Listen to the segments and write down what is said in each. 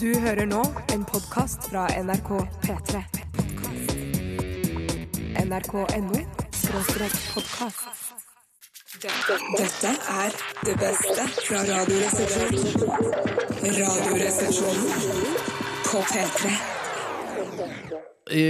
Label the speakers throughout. Speaker 1: Du hører nå en podkast fra NRK P3. NRK.no skråstrek podkast. Dette er det beste fra Radioresepsjonen. Radioresepsjonen på P3.
Speaker 2: I,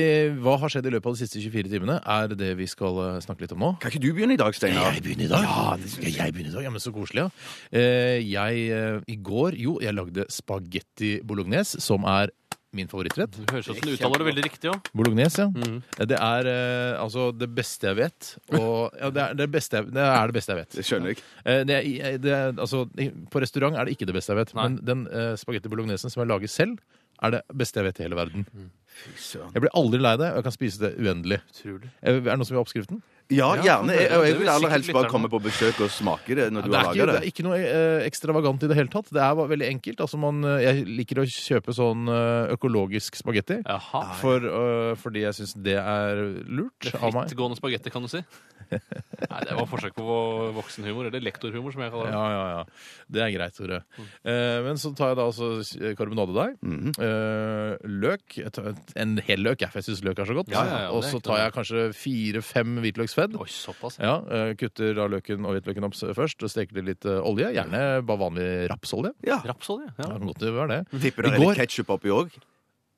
Speaker 2: hva har skjedd i løpet av de siste 24 timene, er det vi skal eh, snakke litt om nå.
Speaker 3: Kan ikke du begynne i dag, Steinar?
Speaker 2: Jeg begynner i dag. Ja, det skal jeg begynne i dag. Ja, men så koselig, ja. Eh, Jeg, eh, i går, jo, jeg lagde spagetti bolognese, som er min favorittrett.
Speaker 4: Det høres ut som du uttaler det veldig riktig òg.
Speaker 2: Bolognese, ja. Det er eh, altså det beste jeg vet. Og, ja, det, er det, beste jeg, det er det beste jeg vet.
Speaker 3: Det skjønner jeg.
Speaker 2: Eh, Det, er- det, er- altså, i- på restaurant er det ikke det beste jeg vet,
Speaker 4: Nei.
Speaker 2: men den eh, spagetti bolognesen som jeg lager selv, er det beste jeg vet i hele verden.
Speaker 3: søren.
Speaker 2: Jeg blir aldri lei det, og jeg kan spise det uendelig.
Speaker 4: Utrolig.
Speaker 2: Eh, Er det noen som vil ha oppskriften?
Speaker 3: Ja,
Speaker 4: Ja,
Speaker 3: gjerne. Jeg, og jeg
Speaker 4: det
Speaker 3: vil
Speaker 4: vil
Speaker 3: aller
Speaker 4: sikkert
Speaker 3: helst bare
Speaker 4: lytterne.
Speaker 3: komme på besøk og smake det når du
Speaker 2: det,
Speaker 3: har
Speaker 2: er ikke,
Speaker 3: laga
Speaker 2: det er
Speaker 3: det.
Speaker 2: ikke noe eh, ekstravagant i det hele tatt. Det er bare veldig enkelt. Altså man, eh, jeg liker å kjøpe sånn eh, økologisk spagetti.
Speaker 4: Jaha.
Speaker 2: For, eh, fordi jeg syns det er lurt
Speaker 4: Det er
Speaker 2: av meg.
Speaker 4: Frittgående spagetti, kan du si. Nei, det var forsøk på voksenhumor, eller lektorhumor, som jeg kaller det.
Speaker 2: Ja, ja, ja. Det er greit, Tore.
Speaker 4: Mm.
Speaker 2: Eh, men så tar jeg da altså karbonadedeig, eh, løk jeg tar En hel løk, jeg, for jeg syns løk er så godt.
Speaker 4: Ja, ja, ja,
Speaker 2: og
Speaker 4: det er
Speaker 2: så
Speaker 4: ikke
Speaker 2: tar
Speaker 4: noe.
Speaker 2: jeg kanskje fire-fem hvitløksfedd.
Speaker 4: Oi, såpass.
Speaker 2: Ja, eh, Kutter da løken og hvitløken opp s- først og steker det litt eh, olje. Gjerne bare vanlig rapsolje.
Speaker 3: Ja.
Speaker 4: Rapsolje.
Speaker 2: Ja,
Speaker 4: Ja.
Speaker 2: det kan godt være det.
Speaker 3: Tipper det
Speaker 2: I
Speaker 3: er
Speaker 2: går-
Speaker 3: litt ketsjup oppi òg?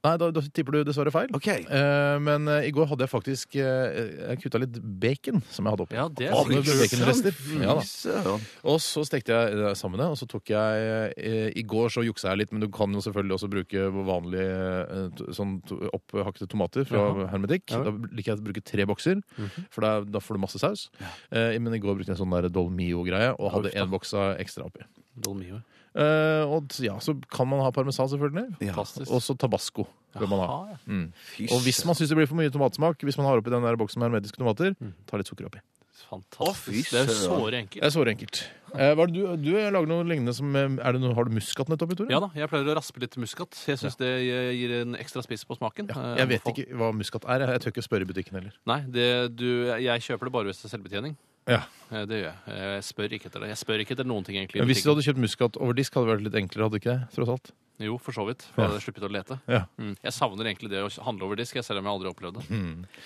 Speaker 2: Nei, da, da tipper du dessverre feil.
Speaker 3: OK.
Speaker 2: Eh, men eh, i går hadde jeg faktisk eh, Jeg kutta litt bacon som jeg hadde oppi.
Speaker 4: ja, det
Speaker 2: Åh,
Speaker 4: er
Speaker 2: med baconrester. Ja, da.
Speaker 3: Søren.
Speaker 2: Og så stekte jeg det sammen det, og så tok jeg eh, I går så juksa jeg litt, men du kan jo selvfølgelig også bruke vanlige eh, to- sånn to- opphakkede tomater fra hermetikk.
Speaker 4: Ja. Mhm.
Speaker 2: Da liker jeg å bruke tre bokser, for da, da får du masse saus. Eh, men i går brukte jeg en sånn der dolmio-greie, og hadde
Speaker 4: Uff da.
Speaker 2: én boksa ekstra oppi.
Speaker 4: Dolmio.
Speaker 2: Eh, og t- ja, så kan man ha parmesan, selvfølgelig.
Speaker 3: Ja.
Speaker 4: Fantastisk.
Speaker 2: Og så tabasco. Bør man ha.
Speaker 4: Jaha, ja.
Speaker 2: Mm.
Speaker 3: Fy
Speaker 2: Og hvis man syns det blir for mye tomatsmak, hvis man har oppi den der boksen med hermetiske tomater, ta litt sukker oppi.
Speaker 4: Fantastisk.
Speaker 3: Å, fy
Speaker 4: det er jo
Speaker 3: søren.
Speaker 4: såre
Speaker 2: Det
Speaker 4: enkelt.
Speaker 2: er såre enkelt. Eh, hva er det du, du lager noe lignende som eh, er det noe, Har du muskatnøtt oppi, Tore?
Speaker 4: Ja da, jeg pleier å raspe litt muskat. Jeg syns det eh, gir en ekstra spiss på
Speaker 2: Ja,
Speaker 4: smaken. Eh,
Speaker 2: Jeg vet
Speaker 4: anbefal-
Speaker 2: ikke hva muskat er. Jeg jeg tør ikke å spørre i butikken heller.
Speaker 4: Nei, det, du, jeg kjøper det bare hvis det er selvbetjening.
Speaker 2: Ja.
Speaker 4: Eh, Det gjør jeg. Jeg spør ikke etter det. Jeg spør ikke etter noen ting, egentlig. i
Speaker 2: Men hvis du
Speaker 4: butikken.
Speaker 2: hadde kjøpt muskat over disk, hadde det vært litt enklere, hadde det ikke det? Tross alt.
Speaker 4: Jo, for så vidt. For jeg hadde sluppet å lete.
Speaker 2: Ja.
Speaker 4: Mm. Jeg savner egentlig det å handle over disk, jeg, selv om jeg aldri har opplevd det.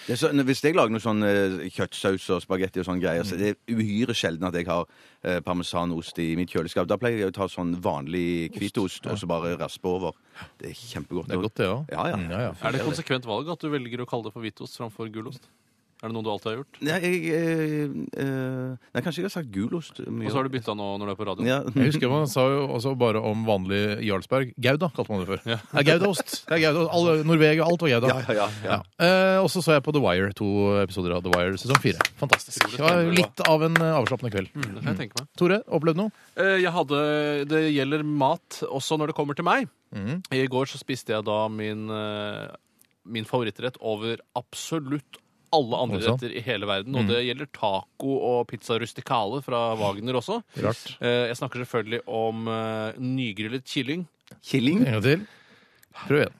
Speaker 3: Det er sånn, hvis jeg lager noe sånn eh, kjøttsaus og spagetti og sånne greier, så det er uhyre sjelden at jeg har eh, parmesanost i mitt kjøleskap. Da pleier jeg å ta sånn vanlig hvitost og så bare raspe over. Det er kjempegodt.
Speaker 2: Det er godt, det òg.
Speaker 3: Ja, ja.
Speaker 2: ja, ja.
Speaker 4: Er det et konsekvent valg at du velger å kalle det for hvitost framfor gulost? Er det noe du alltid har gjort?
Speaker 3: Nei, jeg, eh, eh, nei, kanskje jeg har sagt gulost mye.
Speaker 4: Og så har du bytta nå når du er på radio?
Speaker 3: ja.
Speaker 2: Jeg husker Man sa jo også bare om vanlig Jarlsberg. Gouda kalte man det før. Ja. Goudaost. Det er Goudaost. Alle- Norvegia, alt var Gouda.
Speaker 3: Ja, ja, ja, ja.
Speaker 2: Eh, og så så jeg på The Wire, to episoder av The Wire sesong fire. Fantastisk. Det var litt av en eh, avslappende kveld.
Speaker 4: Det kan jeg tenke meg.
Speaker 2: Tore, opplevd noe?
Speaker 4: Eh, Jeg hadde, det gjelder mat også når det kommer til meg.
Speaker 2: Mm,
Speaker 4: I går så spiste jeg da min, eh, min favorittrett over absolutt alle andre
Speaker 2: Også?
Speaker 4: retter i hele verden. Og det gjelder taco og pizza rusticale fra Wagner også.
Speaker 2: Rart.
Speaker 4: Eh, Jeg snakker selvfølgelig om eh, nygryllet kylling.
Speaker 3: Killing?
Speaker 2: En gang til. Prøv igjen.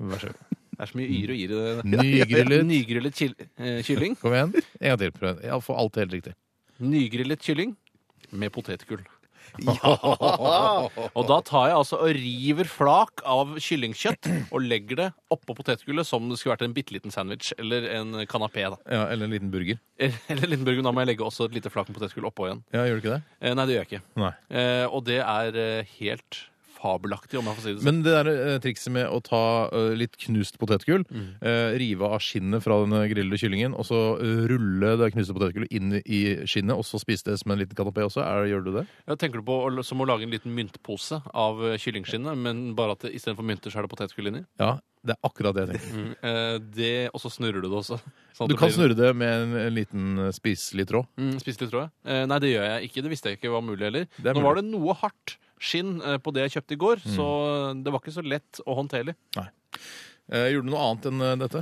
Speaker 2: Vær så god.
Speaker 4: Det er så mye yr og ir i det.
Speaker 2: Nygryllet.
Speaker 4: Nygryllet kyll- eh, kylling.
Speaker 2: Kom igjen. En gang til. Prøv igjen. Ja, Få alt helt riktig.
Speaker 4: Nygryllet kylling med potetgull. Og da tar jeg altså og river flak av kyllingkjøtt og legger det oppå potetgullet som det skulle vært en bitte liten sandwich eller en kanapé. da.
Speaker 2: Ja, eller en liten burger.
Speaker 4: Eller Lindenburgen, da må jeg legge også et lite flak med potetgull oppå igjen.
Speaker 2: Ja, Gjør du ikke det?
Speaker 4: Eh, Nei, det gjør jeg ikke.
Speaker 2: Nei.
Speaker 4: Eh, Og det er eh, helt fabelaktig, om jeg får si det sånn.
Speaker 2: Men det der eh, trikset med å ta eh, litt knust potetgull, eh, rive av skinnet fra den grillede kyllingen, og så eh, rulle det knuste potetgullet inn i skinnet, og så spise det som en liten kanapé også, er, gjør du det?
Speaker 4: Ja, tenker du på å- som å lage en liten myntpose av eh, kyllingskinnet, men bare at det- istedenfor mynter så er det potetgull inni?
Speaker 2: Ja, det er akkurat det jeg tenker.
Speaker 4: Eh, Det, og så snurrer du det også. sånn at
Speaker 2: Mm. Du
Speaker 4: det
Speaker 2: kan
Speaker 4: blir-
Speaker 2: snurre det med en, en liten eh, spiselig tråd.
Speaker 4: Mm, spiste litt rå, ja. Eh, nei, det gjør jeg ikke. Det visste jeg ikke var mulig Mm. heller.
Speaker 2: er mulig.
Speaker 4: Nå var det noe hardt skinn eh, på det jeg kjøpte i går, så det var ikke så lett å håndtere.
Speaker 2: Eh, gjorde du noe annet enn eh, dette?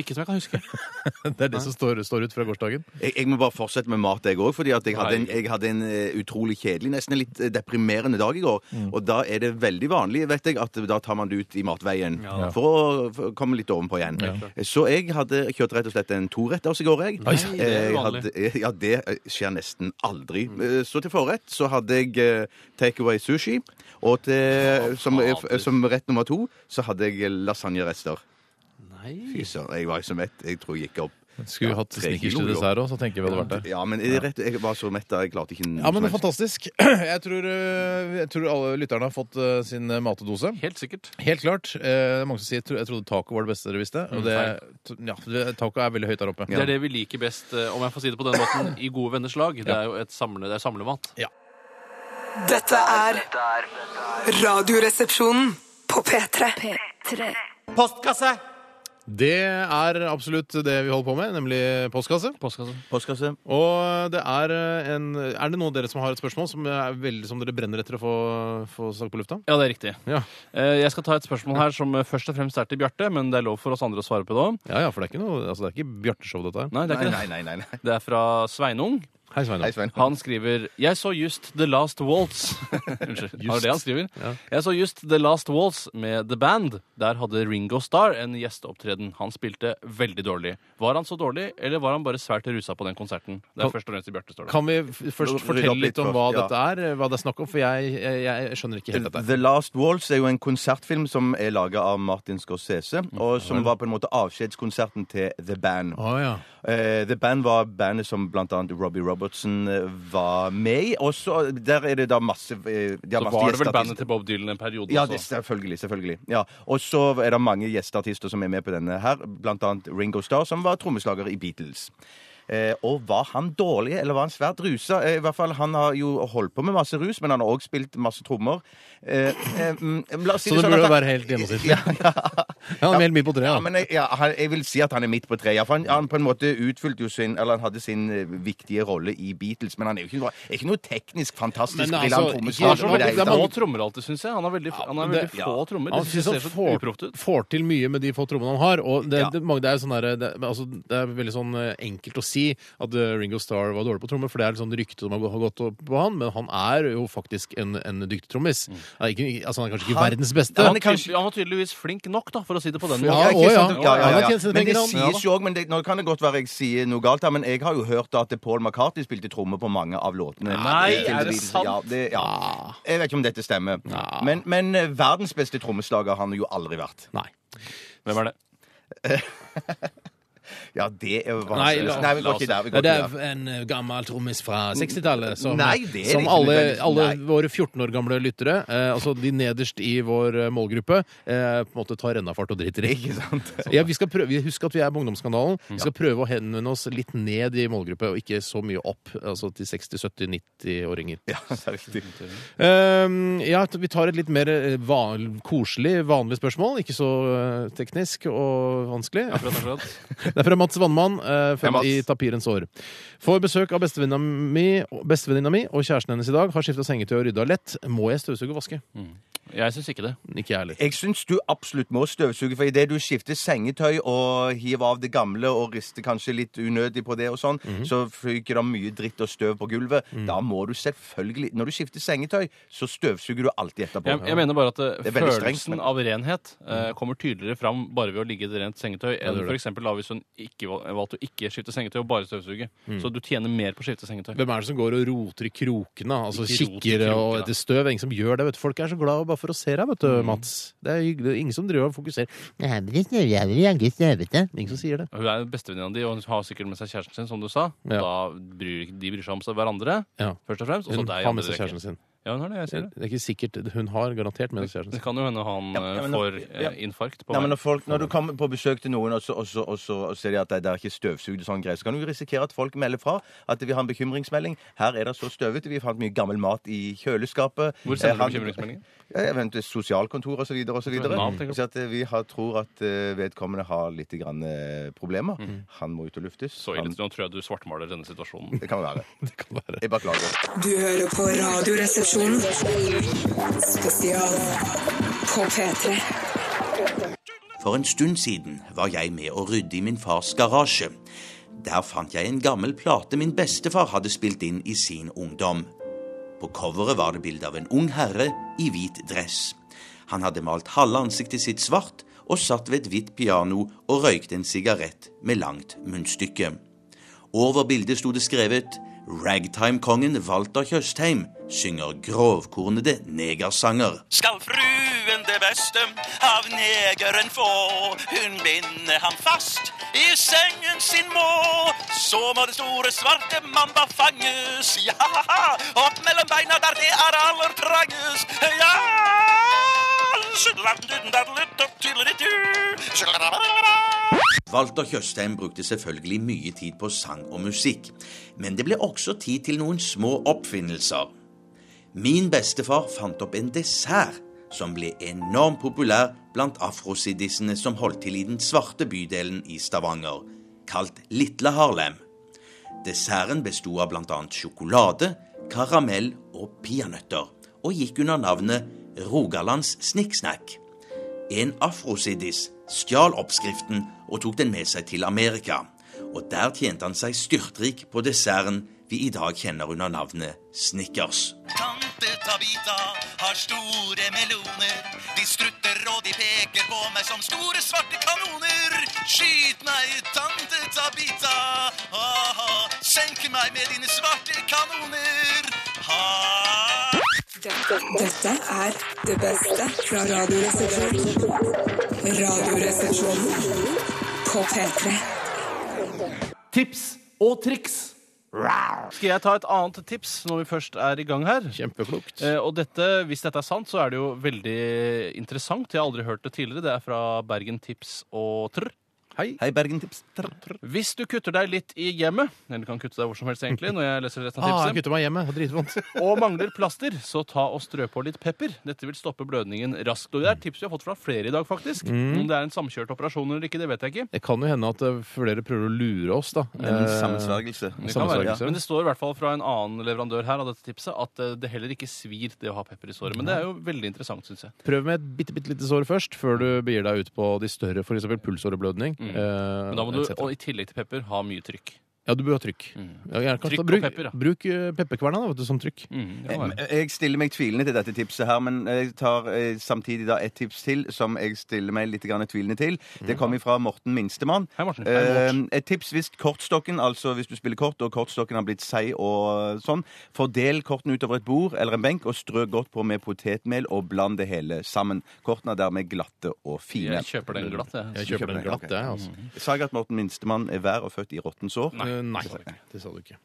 Speaker 4: Ikke som jeg kan huske.
Speaker 2: Det er det som står, står ut fra gårsdagen.
Speaker 3: Jeg, jeg må bare fortsette med mat, jeg òg. For jeg, hadde en- jeg hadde en eh, utrolig kjedelig, nesten en litt eh, deprimerende dag i går.
Speaker 4: Mm.
Speaker 3: Og da er det veldig vanlig vet jeg, at da tar man det ut i matveien
Speaker 4: Ja.
Speaker 3: for å for å komme litt ovenpå igjen. Så jeg hadde kjørt rett og slett en toretters i går, jeg. Eh,
Speaker 4: Nei, det er
Speaker 3: Jeg
Speaker 4: uvanlig.
Speaker 3: hadde- Ja, det eh, skjer nesten aldri. Eh, Så til forrett så hadde jeg eh, takeaway sushi. Og til, som, eh,
Speaker 4: fader.
Speaker 3: som rett nummer to så hadde jeg lasagnerester. Fy
Speaker 4: Nei.
Speaker 3: søren, jeg var så mett. Jeg tror jeg gikk opp.
Speaker 2: Skulle
Speaker 3: Ja,
Speaker 2: hatt
Speaker 3: tre
Speaker 2: snickers til
Speaker 3: kilo, jo.
Speaker 2: dessert òg, så tenker vi hadde vært der.
Speaker 3: Ja, men jeg, rett, jeg var så mett da. Jeg klarte ikke noe
Speaker 2: Ja, men det er
Speaker 3: som helst.
Speaker 2: Fantastisk. Jeg tror, eh, jeg tror alle lytterne har fått eh, sin eh, matdose.
Speaker 4: Helt sikkert.
Speaker 2: Helt klart. Eh, det er mange som sier tro- jeg trodde taco var det beste dere visste. Og det, ja, det- taco er veldig høyt der oppe.
Speaker 3: Mm, Ja.
Speaker 4: Det er det vi liker best, eh, om jeg får si det på den måten, i gode venners lag. Det er jo et samle, det er samlemat.
Speaker 5: Dette er Radioresepsjonen på P3.
Speaker 6: P3.
Speaker 7: Postkasse!
Speaker 2: Det er absolutt det vi holder på med, nemlig postkasse.
Speaker 4: Postkasse.
Speaker 3: Postkasse.
Speaker 2: Og det er eh, en Er det noen av dere som har et spørsmål som, er veldig, som dere brenner etter å få, få sagt på lufta?
Speaker 4: Ja, det er riktig.
Speaker 2: Ja.
Speaker 4: Eh, Jeg skal ta et spørsmål her som eh, først og fremst er til Bjarte, men det er lov for oss andre å svare på det òg.
Speaker 2: Ja, ja, for det er ikke noe Altså, det er ikke Bjarte-show, dette her.
Speaker 4: Nei, det
Speaker 3: Nei,
Speaker 4: er ikke
Speaker 3: nei, nei. nei, nei.
Speaker 4: det. Det er fra Sveinung.
Speaker 2: Hei, Svein.
Speaker 3: Hei, Svein.
Speaker 4: Han skriver Jeg så just The Last Waltz. Unnskyld. Det var det han skriver.
Speaker 2: Ja.
Speaker 4: Jeg så just The Last Waltz med The Band. Der hadde Ringo Starr en gjesteopptreden. Han spilte veldig dårlig. Var han så dårlig, eller var han bare svært rusa på den konserten?
Speaker 2: Kan-
Speaker 4: Det er først og fremst i Bjarte, står det.
Speaker 2: Kan vi f- først
Speaker 3: Rydde
Speaker 2: fortelle
Speaker 3: opp litt
Speaker 2: litt om
Speaker 3: først,
Speaker 2: hva
Speaker 3: ja.
Speaker 2: dette er? Hva det er snakk om? For jeg, jeg, jeg skjønner ikke helt dette.
Speaker 3: The Last Waltz er jo en konsertfilm som er laga av Martin Scorsese, og som var på en måte avskjedskonserten til The Band.
Speaker 2: Å ja.
Speaker 3: Eh, The Band var bandet som blant annet Robbie Robertson eh, var med i. Og så der er det da masse eh, de har masse
Speaker 4: Så var det vel
Speaker 3: gjesteartister.
Speaker 4: bandet til Bob Dylan en periode
Speaker 3: Ja, det,
Speaker 4: også.
Speaker 3: selvfølgelig. selvfølgelig. Ja. Og så er det mange gjesteartister som er med på denne her, blant annet Ringo Starr, som var trommeslager i Beatles. Eh, og var han dårlig, eller var han svært rusa? Eh, I hvert fall, Han har jo holdt på med masse rus, men han har òg spilt masse trommer. Eh, eh, mm, la oss si
Speaker 2: Så det
Speaker 3: sånn at
Speaker 2: burde jo
Speaker 3: han-
Speaker 2: være helt gjennomsnittlig. Ja, men helt mye på tre,
Speaker 3: ja,
Speaker 2: da.
Speaker 3: men jeg, ja, han, jeg vil si at han er midt på treet. ja, For han, han på en måte utfylte jo sin Eller han hadde sin eh, viktige rolle i Beatles, men han er jo ikke, noe- er ikke noe teknisk fantastisk
Speaker 2: Men
Speaker 3: briljant
Speaker 2: altså,
Speaker 4: Han har
Speaker 3: trommeslager.
Speaker 4: så
Speaker 2: ikke-
Speaker 3: i det hele
Speaker 2: er
Speaker 4: veldig få
Speaker 3: tatt.
Speaker 2: mange-
Speaker 4: trommer alltid, syns jeg. Han har veldig, han har
Speaker 2: men det-
Speaker 4: veldig få trommer.
Speaker 2: Han
Speaker 4: Det synes jeg
Speaker 2: synes
Speaker 4: ser
Speaker 2: han
Speaker 4: så
Speaker 2: får,
Speaker 4: uproft ut.
Speaker 2: får til mye med de få trommene han har. Og det,
Speaker 3: Ja.
Speaker 2: det, Magda, det, er jo sånn der, det, men altså, det er veldig sånn eh, enkelt å si at eh, Ringo Starr var dårlig på trommer, for det er liksom ryktet som har gå- har gått opp på han, men han er jo faktisk en, en dyktig trommis.
Speaker 4: Mm.
Speaker 2: Han er ikke, altså, han er kanskje ikke
Speaker 3: Han-
Speaker 2: verdens
Speaker 3: Ja,
Speaker 2: beste.
Speaker 4: Han,
Speaker 3: men
Speaker 4: er
Speaker 3: kanskje-
Speaker 4: tydelig- han var tydeligvis flink nok, da, for å si det på den
Speaker 2: Ja,
Speaker 4: måten.
Speaker 2: å,
Speaker 3: ikke
Speaker 2: ja.
Speaker 3: sant? Ja, ja,
Speaker 2: Ja,
Speaker 3: ja,
Speaker 2: han har tjent sine
Speaker 3: Men det
Speaker 2: penger, han.
Speaker 3: sies jo også, men det, nå kan det godt være jeg sier noe galt her, men jeg har jo hørt at Paul McCartney spilte trommer på mange av låtene. Eh,
Speaker 4: Nei,
Speaker 3: til
Speaker 4: er
Speaker 3: The
Speaker 4: det
Speaker 3: Beatles.
Speaker 4: sant?
Speaker 3: Ja, det, ja.
Speaker 2: Ah,
Speaker 3: Jeg vet ikke om dette stemmer. Men, men eh, verdens beste trommeslager har han jo aldri vært.
Speaker 2: Nei.
Speaker 4: Hvem er det?
Speaker 3: Ja, det er jo
Speaker 2: Nei,
Speaker 3: vanskelig.
Speaker 2: la-
Speaker 3: Nei, vi
Speaker 4: la
Speaker 3: går
Speaker 4: oss-
Speaker 3: ikke der. Vi
Speaker 2: Ja,
Speaker 3: går
Speaker 2: det
Speaker 3: ikke
Speaker 2: er
Speaker 3: der.
Speaker 2: en eh, gammel trommis fra 60-tallet som,
Speaker 3: Nei, det er det
Speaker 2: som
Speaker 3: ikke
Speaker 2: alle,
Speaker 3: nødvendigvis.
Speaker 2: alle
Speaker 3: Nei.
Speaker 2: våre 14 år gamle lyttere, eh, altså de nederst i vår eh, målgruppe, eh, på en måte tar rennafart og driter i.
Speaker 3: Ikke sant?
Speaker 2: Ja, vi skal prøve, vi- Husk at vi er på Ungdomsskandalen. Vi skal prøve å henvende oss litt ned i målgruppe, og ikke så mye opp. Altså til 60-70-90-åringer.
Speaker 3: Ja, det er riktig.
Speaker 2: Ehm, ja, t- vi tar et litt mer eh, van, koselig, vanlig spørsmål. Ikke så eh, teknisk og vanskelig.
Speaker 4: Akkurat, akkurat.
Speaker 2: Det er fra Mats Vannmann eh, fra-
Speaker 3: Hei, Mats.
Speaker 2: i Tapirens år. Får besøk av bestevenninna mi, bestevenninna mi og kjæresten hennes i dag. Har skifta sengetøy og rydda lett. Må jeg støvsuge og vaske?
Speaker 4: Jeg syns ikke det.
Speaker 2: Ikke jeg heller.
Speaker 3: Jeg syns du absolutt må støvsuge, for idet du skifter sengetøy og hiver av det gamle og rister kanskje litt unødig på det og sånn, så fyker det mye dritt og støv på gulvet. Da må du selvfølgelig Når du skifter sengetøy, så støvsuger du alltid etterpå.
Speaker 4: Jeg, jeg mener bare at eh,
Speaker 3: Det er veldig
Speaker 4: følelsen
Speaker 3: strengt, men-
Speaker 4: av renhet eh, kommer tydeligere fram bare ved å ligge i et rent sengetøy enn
Speaker 2: gjør det.
Speaker 4: for eksempel da hvis hun ikke val- valgte å ikke skifte sengetøy og bare støvsuge.
Speaker 2: Mm.
Speaker 4: Så du tjener mer på å skifte sengetøy.
Speaker 2: Hvem er det som går og roter i krokene? Altså
Speaker 4: Ikke rot i
Speaker 2: Kikker og
Speaker 4: krokene.
Speaker 2: etter støv? Ingen som gjør det. vet du. Folk er så glad bare for å se deg, vet
Speaker 4: Mm.
Speaker 2: du, Mats. Det er hyggelig. Ingen som driver og fokuserer.
Speaker 8: Det her blir snøjævlig, jaggu snøvete.
Speaker 2: Ingen som sier det.
Speaker 4: Hun er bestevenninna di, og hun har sikkert med seg kjæresten sin, som du sa.
Speaker 2: Ja.
Speaker 4: Da bryr, de bryr seg om seg hverandre,
Speaker 2: Ja.
Speaker 4: først og fremst. Og så
Speaker 2: Hun
Speaker 4: deg. i
Speaker 2: har med
Speaker 4: andre
Speaker 2: seg
Speaker 4: rekke.
Speaker 2: kjæresten sin.
Speaker 4: Ja, hun har det. Jeg
Speaker 2: Det
Speaker 4: sier det.
Speaker 2: er ikke sikkert. Hun har garantert med seg kjæresten
Speaker 4: Det
Speaker 2: sin.
Speaker 4: kan jo hende han
Speaker 3: Ja, ja,
Speaker 4: eh,
Speaker 3: men nå-
Speaker 4: får eh,
Speaker 3: ja.
Speaker 4: infarkt på
Speaker 3: Nei, men når,
Speaker 4: veien.
Speaker 3: folk, når du kommer på besøk til noen, og så, og så, og så, og ser de at det, det er ikke støvsugd, og sånn greier, så kan du jo risikere at folk melder fra at vi har en bekymringsmelding. Her er det så støvete. Vi fant mye gammel mat i kjøleskapet.
Speaker 4: Hvor
Speaker 3: Eh,
Speaker 4: sender
Speaker 3: han-
Speaker 4: du bekymringsmeldingen?
Speaker 3: Ja, Eventuelt sosialkontor osv.
Speaker 4: Nav, tenker du?
Speaker 3: Så at eh, vi har, tror at eh, vedkommende har litt grann, eh, problemer. Han må ut og luftes.
Speaker 4: Mm. Så
Speaker 3: Han,
Speaker 4: irriterende. Nå tror jeg du svartmaler denne situasjonen.
Speaker 3: det kan være.
Speaker 2: Det kan være.
Speaker 3: Jeg beklager.
Speaker 5: Du hører på Radioresepsjonen spesial på P3.
Speaker 6: For en stund siden var jeg med å rydde i min fars garasje. Der fant jeg en gammel plate min bestefar hadde spilt inn i sin ungdom. På coveret var det bilde av en ung herre i hvit dress. Han hadde malt halve ansiktet sitt svart og satt ved et hvitt piano og røykte en sigarett med langt munnstykke. Over bildet sto det skrevet Ragtime-kongen Walter Tjøstheim synger grovkornede negersanger.
Speaker 7: Skal fruen det beste av negeren få, hun binder ham fast i sengen sin må. Så må den store svarte mamba fanges, ja, opp mellom beina der det er aller trangest, ja.
Speaker 6: Walter Tjøstheim brukte selvfølgelig mye tid på sang og musikk, men det ble også tid til noen små oppfinnelser. Min bestefar fant opp en dessert som ble enormt populær blant afrosidissene som holdt til i den svarte bydelen i Stavanger, kalt Litle Harlem. Desserten besto av bl.a. sjokolade, karamell og peanøtter, og gikk under navnet Rogalands Snikksnakk. En afrosiddis stjal oppskriften og tok den med seg til Amerika. Og der tjente han seg styrtrik på desserten vi i dag kjenner under navnet Snickers.
Speaker 7: Tante Tabita har store meloner. De strutter og de peker på meg som store svarte kanoner. Skyt meg, tante Tabita. Aha, senk meg med dine svarte kanoner. Ha.
Speaker 5: Dette er det beste fra Radioresepsjonen. Radioresepsjonen på P3.
Speaker 4: Tips og triks. Skal jeg ta et annet tips når vi først er i gang her?
Speaker 2: Kjempeflukt.
Speaker 4: Eh, Og dette, hvis dette er sant, så er det jo veldig interessant. Jeg har aldri hørt det tidligere. Det er fra Bergen Tips og Trr.
Speaker 2: Hei.
Speaker 3: Hei, Bergen Tips. Trr, trr.
Speaker 4: Hvis du kutter deg litt i hjemmet, eller du kan kutte deg hvor som helst egentlig, når jeg leser
Speaker 2: Ah,
Speaker 4: resten av
Speaker 2: jeg
Speaker 4: tipset,
Speaker 2: kutter meg hjemme. Det er Dritvondt.
Speaker 4: og mangler plaster, så ta og strø på litt pepper. Dette vil stoppe blødningen raskt. Og det er tips vi har fått fra flere i dag, faktisk.
Speaker 2: Mm.
Speaker 4: Om det er en samkjørt operasjon eller ikke, det vet jeg ikke.
Speaker 2: Det kan jo hende at eh, flere prøver å lure oss, da.
Speaker 3: En
Speaker 2: Eh,
Speaker 3: sammensvergelse.
Speaker 4: Det kan være,
Speaker 2: Sammensvergelse.
Speaker 4: Men det står i hvert fall fra en annen leverandør her av dette tipset at eh, det heller ikke svir det å ha pepper i såret. Men det er jo veldig interessant, syns jeg.
Speaker 2: Prøv med et bitte, bitte lite sår først, før du begir deg ut på de større, f.eks. pulsåreblødning. eh,
Speaker 4: Mm. Men da må du,
Speaker 2: et cetera.
Speaker 4: og i tillegg til pepper, ha mye trykk.
Speaker 2: Ja, du bør ha trykk. Ja, gjerne kanskje
Speaker 4: Trykk
Speaker 2: da
Speaker 4: og
Speaker 2: bruk,
Speaker 4: pepper, Mm. ja.
Speaker 2: Bruk eh, pepperkverna da, vet du, som trykk.
Speaker 4: Eh,
Speaker 3: Jeg- Jeg stiller meg tvilende til dette tipset her, men jeg tar eh, samtidig da et tips til som jeg stiller meg litt grann tvilende til. Det kommer fra Morten Minstemann.
Speaker 4: Hei, Morten.
Speaker 3: Eh,
Speaker 4: Hei, Morten.
Speaker 3: Et tips hvis kortstokken, altså hvis du spiller kort og kortstokken har blitt seig og sånn, fordel kortene utover et bord eller en benk og strø godt på med potetmel og bland det hele sammen. Kortene er dermed glatte og fine.
Speaker 4: Jeg kjøper den Mm. glatt, jeg.
Speaker 2: Jeg kjøper
Speaker 3: kjøper
Speaker 2: den
Speaker 3: den,
Speaker 2: glatt,
Speaker 3: ok.
Speaker 2: jeg, altså.
Speaker 3: Sa jeg at Morten Minstemann er vær og født i råttent sår?
Speaker 2: Eh, Nei, det sa du ikke.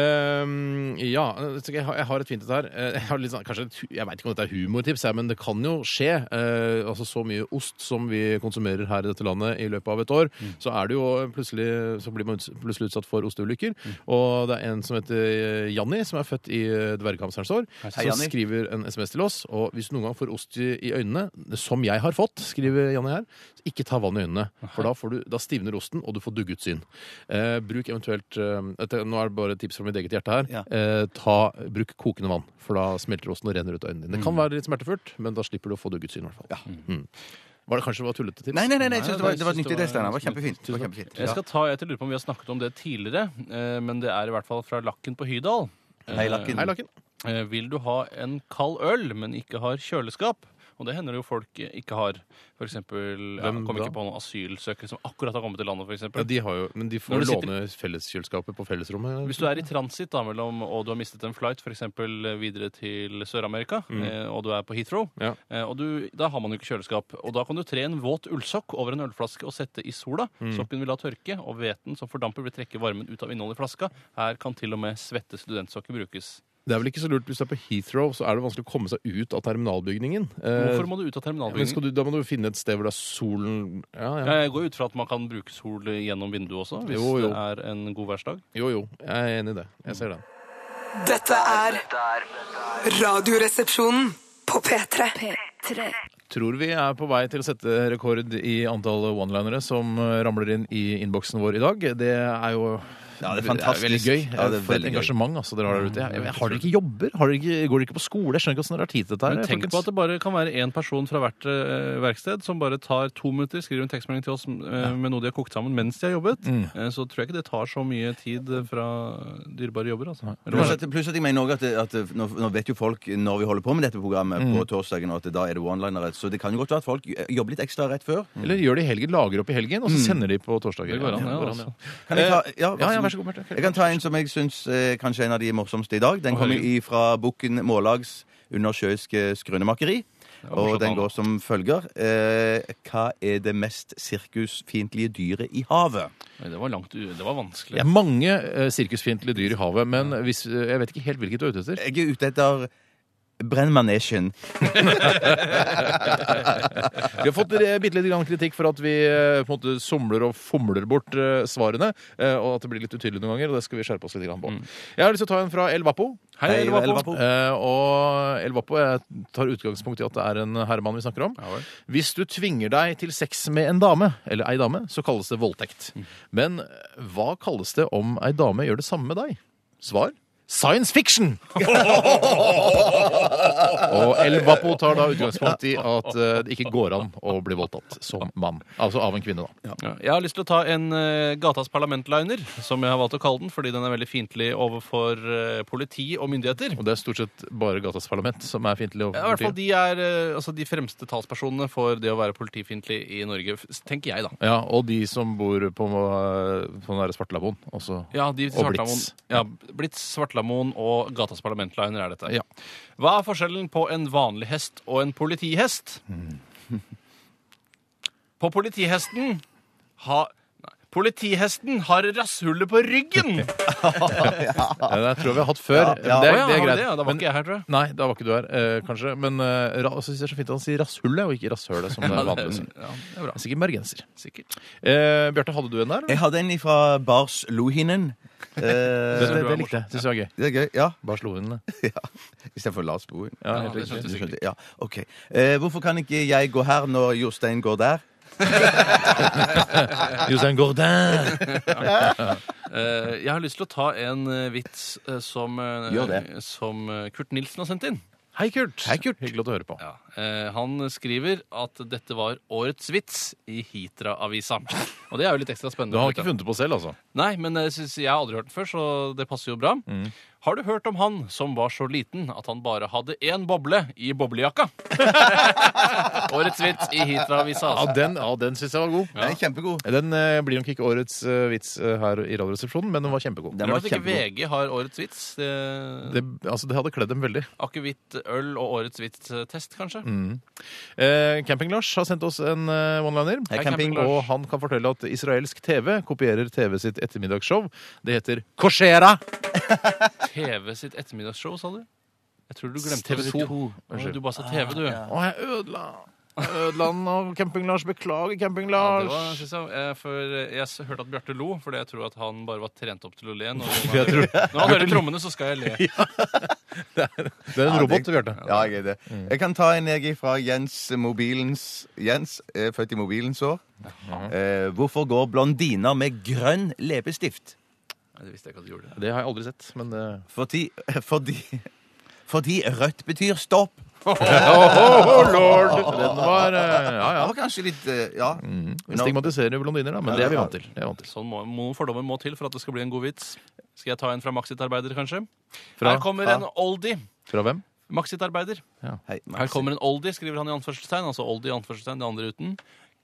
Speaker 2: Ehm, ja, jeg har, jeg har et fint et her. Eh, Jeg, har litt sånn, kanskje, et hu- jeg vet ikke om dette er humortips, her, men det kan jo skje. Eh, altså Så mye ost som vi konsumerer her i dette landet i løpet av et år, så er det jo plutselig, så blir man uts- plutselig utsatt for osteulykker. Og det er en som heter eh, Janni, som er født i eh, dverghamsterens år,
Speaker 3: Hei,
Speaker 2: som
Speaker 3: Janni.
Speaker 2: skriver en SMS til oss. Og hvis du noen gang får ost i, i øynene, som jeg har fått, skriver Janni her, så ikke ta vann i øynene. For da, får du, da stivner osten, og du får duggutsyn. Eh, bruk eventuelt eh, dette, Nå er det bare tips fra mitt eget hjerte her.
Speaker 3: Ja.
Speaker 2: Eh, ta, bruk kokende vann, for da smelter osten og renner ut av øynene dine. Det kan være litt smertefullt, men da slipper du å få duggutsyn, i hvert fall. Mm. Var det kanskje det var tullete tips?
Speaker 3: Nei, nei, nei, nei, jeg synes
Speaker 4: Nei,
Speaker 3: det var,
Speaker 4: jeg
Speaker 3: det var
Speaker 4: synes
Speaker 3: nyttig
Speaker 4: det
Speaker 3: det, Steinar. Det var
Speaker 4: var-
Speaker 3: kjempefint. Det var kjempefint.
Speaker 4: Jeg skal ta et jeg lurer på om vi har snakket om det tidligere, eh, men det er i hvert fall fra Lakken på Hydal.
Speaker 3: Hei, Lakken.
Speaker 2: Hei, Laken.
Speaker 4: Eh, Vil du ha en kald øl, men ikke har kjøleskap? Og det hender det jo folk eh, ikke har. For eksempel, ja,
Speaker 2: Hvem
Speaker 4: kom
Speaker 2: da?
Speaker 4: ikke på noen asylsøkere som akkurat har kommet til landet, for
Speaker 2: Ja,
Speaker 4: eksempel.
Speaker 2: de har jo, men de
Speaker 4: Når
Speaker 2: får
Speaker 4: du sitter-
Speaker 2: låne felleskjøleskapet på fellesrommet.
Speaker 4: Hvis du er i transitt da, mellom, og du har mistet en flight, for eksempel eh, videre til Sør-Amerika,
Speaker 2: Mm.
Speaker 4: eh, og du er på Heathrow,
Speaker 2: Ja.
Speaker 4: eh, og du, da har man jo ikke kjøleskap. Og da kan du tre en våt ullsokk over en ølflaske og sette i sola.
Speaker 2: Mm.
Speaker 4: Sokken vil la tørke, og hveten som fordamper vil trekke varmen ut av innholdet i flaska. Her kan til og med svette studentsokker brukes.
Speaker 2: Det er vel ikke så lurt hvis du er på Heathrow, så er det vanskelig å komme seg ut av terminalbygningen. Eh,
Speaker 4: Hvorfor må du ut
Speaker 2: men skal
Speaker 4: av terminalbygningen? Eh,
Speaker 2: du, da må du finne et sted hvor det er solen ja, ja.
Speaker 4: Jeg går ut fra at man kan bruke sol gjennom vinduet også, hvis
Speaker 2: Jo, jo.
Speaker 4: det er en god værsdag.
Speaker 2: Jo, jo. Jeg er enig i det. Jeg ser den.
Speaker 5: Dette er Radioresepsjonen på P3.
Speaker 2: Tror vi er på vei til å sette rekord i antall one-linere som eh, ramler inn i innboksen vår i dag. Det er jo
Speaker 3: Ja, det er
Speaker 2: Det er veldig
Speaker 3: fantastisk.
Speaker 2: gøy.
Speaker 3: Ja, det er
Speaker 2: For et
Speaker 3: veldig gøy.
Speaker 2: engasjement altså, dere har der ute. Jeg, jeg, har dere ikke jobber? Har dere ikke, går dere ikke på skole? Jeg skjønner ikke hvordan dere har tid til dette. her,
Speaker 4: Men tenk på
Speaker 2: folkens.
Speaker 4: at det bare kan være én person fra hvert eh, verksted som bare tar to minutter, skriver en tekstmelding til oss eh, med noe de har kokt sammen mens de har jobbet.
Speaker 2: Mm.
Speaker 4: Eh, så tror jeg ikke det tar så mye tid eh, fra dyrebare jobber. Altså.
Speaker 3: Pluss
Speaker 4: Eller hva er det?
Speaker 3: at, pluss at jeg mener også at, at nå, nå vet jo folk når vi holder på med dette programmet på torsdagen, og at da er det one-linere. Så det kan jo godt være at folk jobber litt ekstra rett før.
Speaker 2: Mm. Eller gjør det i helgen, lager opp i helgen, og så sender de på torsdager.
Speaker 4: Det går an,
Speaker 2: Ja,
Speaker 4: ja,
Speaker 2: det går an,
Speaker 4: altså.
Speaker 3: Kan jeg ta,
Speaker 2: Eh,
Speaker 3: ja,
Speaker 2: ja, ja, vær så god, Bjarte.
Speaker 3: Jeg kan ta en som jeg syns eh, kanskje er en av de morsomste i dag. Den kommer fra Bukken Mållags undersjøiske skrønemakeri. Og
Speaker 4: morsomt,
Speaker 3: den
Speaker 4: da.
Speaker 3: går som følger. Eh, hva er det mest sirkusfiendtlige dyret i havet?
Speaker 4: Nei, det var langt u- Det var vanskelig.
Speaker 2: Det er mange eh, sirkusfiendtlige dyr i havet, men hvis, eh, jeg vet ikke helt hvilket du er ute etter.
Speaker 3: Jeg er ute etter brennmanesjen.
Speaker 2: Vi har fått eh, bitte litt grann kritikk for at vi eh, på en måte somler og fomler bort eh, svarene, eh, og at det blir litt utydelig noen ganger, og det skal vi skjerpe oss litt grann på. Jeg har lyst til å ta en fra El Vapo.
Speaker 4: Hei,
Speaker 3: Hei,
Speaker 4: det var
Speaker 3: El
Speaker 4: på.
Speaker 3: Vapo.
Speaker 2: Eh, og El Vapo, jeg tar utgangspunkt i at det er en herremann vi snakker om.
Speaker 4: Ja vel.
Speaker 2: Hvis du tvinger deg til sex med en dame, eller ei dame, så kalles det voldtekt.
Speaker 4: Mm.
Speaker 2: Men eh, hva kalles det om ei dame gjør det samme med deg? Svar? Science fiction! og El Vapo tar da utgangspunkt i at eh, det ikke går an å bli voldtatt som mann. Altså av en kvinne, da.
Speaker 4: Ja. Jeg har lyst til å ta en eh, Gatas parlamentliner, som jeg har valgt å kalle den, fordi den er veldig fiendtlig overfor eh, politi og myndigheter.
Speaker 2: Og det er stort sett bare gatas parlament som er fiendtlig
Speaker 4: Ja, I
Speaker 2: overfor
Speaker 4: hvert fall
Speaker 2: politiet.
Speaker 4: de er eh, altså, de fremste talspersonene for det å være politifiendtlig i Norge, f- tenker jeg, da.
Speaker 2: Ja, og de som bor på, eh, på den derre Svartelaboen. også.
Speaker 4: Ja, de
Speaker 2: Og
Speaker 4: Svartlamoen-
Speaker 2: Blitz.
Speaker 4: Ja, Blitz, Svartlamoen og Gatas Parlamentliner er dette.
Speaker 2: Ja.
Speaker 4: Hva er forskjellen på en vanlig hest og en politihest?
Speaker 2: Mm.
Speaker 4: På politihesten ha... Nei, Politihesten har rasshullet på ryggen!
Speaker 2: Ja, det tror jeg vi har hatt før.
Speaker 3: ja.
Speaker 2: Det,
Speaker 4: Å ja,
Speaker 2: det er
Speaker 4: har vi
Speaker 2: greit.
Speaker 4: det? Ja, Da var
Speaker 2: Men-
Speaker 4: ikke jeg her, tror jeg.
Speaker 2: Nei, da var ikke du her, eh, kanskje. Men eh, ra- altså, synes jeg det er så fint at han sier rasshullet, og ikke rasshølet, som det er vanlig å si.
Speaker 4: Ja, det er bra.
Speaker 2: Det er Sikkert bergenser.
Speaker 4: Sikkert.
Speaker 2: Eh, Bjarte, hadde du en der?
Speaker 3: Jeg hadde en fra Bars Lohinen. Eh,
Speaker 2: det, det,
Speaker 4: du var
Speaker 2: det likte jeg. Syns jeg var gøy.
Speaker 3: det er gøy. Ja,
Speaker 2: Bare slo inn det.
Speaker 3: istedenfor Lars Bohin.
Speaker 2: Ja,
Speaker 4: Ja,
Speaker 2: helt
Speaker 4: det
Speaker 2: riktig.
Speaker 4: skjønte
Speaker 3: Du
Speaker 4: jeg sikkert.
Speaker 3: skjønte, ja, ok. Eh, hvorfor kan ikke jeg gå her når Jostein går der?
Speaker 2: Jostein Gaurdin!
Speaker 4: Eh, jeg har lyst til å ta en eh, vits eh, som, eh,
Speaker 3: Gjør det.
Speaker 4: som eh, Kurt Nilsen har sendt inn.
Speaker 2: Hei, Kurt. Hyggelig at du hører på.
Speaker 4: Ja. Eh, han skriver at dette var årets vits i Hitra-avisa. Og det er jo litt ekstra spennende.
Speaker 2: Du har ikke funnet det på selv, altså?
Speaker 4: Nei, men jeg, synes, jeg har aldri hørt den før, så det passer jo bra.
Speaker 2: Mm.
Speaker 4: Har du hørt om han som var så liten at han bare hadde én boble i boblejakka? årets vits i Hitra-avisa.
Speaker 2: Ja,
Speaker 4: Altså.
Speaker 2: den, ja, den syns jeg var god.
Speaker 3: Den er kjempegod.
Speaker 2: Den eh, blir nok ikke årets eh, vits eh, her i Radioresepsjonen, men den var kjempegod.
Speaker 3: Den
Speaker 4: Rart
Speaker 3: var
Speaker 4: at ikke
Speaker 3: kjempegod.
Speaker 4: VG har årets vits. Det...
Speaker 2: Det, altså, det hadde kledd dem veldig.
Speaker 4: Akevitt, øl og årets vits-test, kanskje.
Speaker 2: Mm. Eh, Camping-Lars har sendt oss en eh, one-liner.
Speaker 3: Hei, camping.
Speaker 2: Og han kan fortelle at israelsk TV kopierer TV sitt ettermiddagsshow. Det heter Korsera!
Speaker 4: TV sitt ettermiddagsshow, sa du? Jeg tror du glemte
Speaker 2: TV 2.
Speaker 4: Å, Du bare sa TV, du. Ja.
Speaker 2: Å, jeg ødela jeg ødela den av Camping-Lars. Beklager,
Speaker 4: Ja, det var,
Speaker 2: Camping-Lars.
Speaker 4: synes jeg, eh, for eh, jeg s- hørte at Bjarte lo, fordi jeg tror at han bare var trent opp til å le. Når han,
Speaker 2: Jeg tror-
Speaker 4: når han hører trommene, så skal jeg le.
Speaker 2: Det er en
Speaker 3: Ja,
Speaker 2: robot,
Speaker 3: det-
Speaker 2: Bjarte.
Speaker 3: Ja, jeg er det.
Speaker 2: Mm.
Speaker 3: Jeg kan ta en jeg fra Jens Mobilens Jens er født i mobilens år. Eh, hvorfor går blondiner med grønn leppestift?
Speaker 4: Nei, det visste jeg ikke at du gjorde.
Speaker 2: Det har jeg aldri sett, men eh,
Speaker 3: Fordi, fordi, fordi rødt betyr stopp.
Speaker 2: Oh, lord! Den var eh, Ja,
Speaker 3: Det
Speaker 2: ja.
Speaker 3: var kanskje litt eh, Ja.
Speaker 2: Vi stigmatiserer jo blondiner, da, men det er vi vant til. Det er vi vant til.
Speaker 4: Sånn må, noen fordommer må til for at det skal bli en god vits. Skal jeg ta en fra Maxit-arbeider, kanskje?
Speaker 2: Fra-
Speaker 4: Her kommer en oldie.
Speaker 2: Fra hvem?
Speaker 4: Maxit-arbeider.
Speaker 3: Hei,
Speaker 4: Her
Speaker 3: Maxi.
Speaker 4: kommer en oldie, skriver han i anførselstegn. Altså oldie i anførselstegn, det andre uten.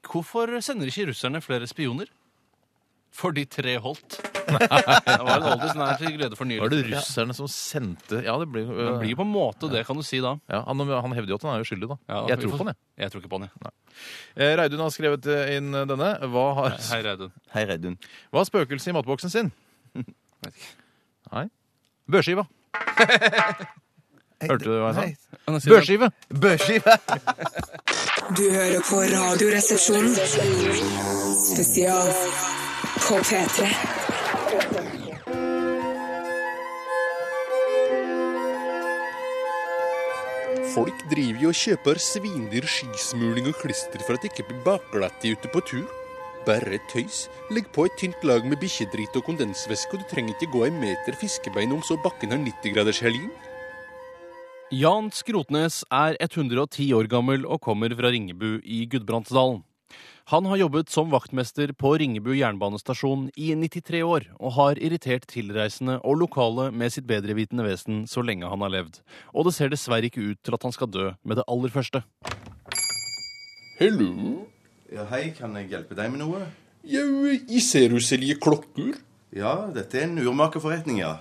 Speaker 4: Hvorfor sender ikke russerne flere spioner? Fordi tre holdt. Det var en oldie som er til glede for
Speaker 2: Var
Speaker 4: nylig.
Speaker 2: det russerne som sendte Ja, det blir,
Speaker 4: Det blir
Speaker 2: eh,
Speaker 4: jo på en måte det, kan du si da.
Speaker 2: ja, han, han hevder jo at han er uskyldig, da.
Speaker 4: Ja,
Speaker 2: jeg
Speaker 4: vi
Speaker 2: tror
Speaker 4: får-
Speaker 2: på han, jeg.
Speaker 4: Jeg tror ikke på den, jeg.
Speaker 2: Eh, Reidun har skrevet eh, inn eh, denne. Hva har,
Speaker 4: Hei, Reidun.
Speaker 3: Hei, Reddun.
Speaker 2: hva har spøkelset i matboksen sin? Nei. Børskiva. Hørte du hva jeg sa? Børskive!
Speaker 3: Børskive!
Speaker 5: Du hører på Radioresepsjonen. Spesial på P3.
Speaker 9: Folk driver jo og kjøper svindyr skismuling og klister for at det ikke blir bakglatt ute på tur. Bare tøys. Legg på et tynt lag med bikkjedrit og kondensvæske, og du trenger ikke gå en meter fiskebein om så bakken har 90 graders helin.
Speaker 4: Jan Skrotnes er 110 år gammel og kommer fra Ringebu i Gudbrandsdalen. Han har jobbet som vaktmester på Ringebu jernbanestasjon i 93 år, og har irritert tilreisende og lokale med sitt bedrevitende vesen så lenge han har levd. Og det ser dessverre ikke ut til at han skal dø med det aller første.
Speaker 9: Hello.
Speaker 3: Ja, hei, kan jeg hjelpe deg med noe?
Speaker 9: Jau, jeg ser du selger klokker.
Speaker 3: Ja, dette er en urmakerforretning, ja.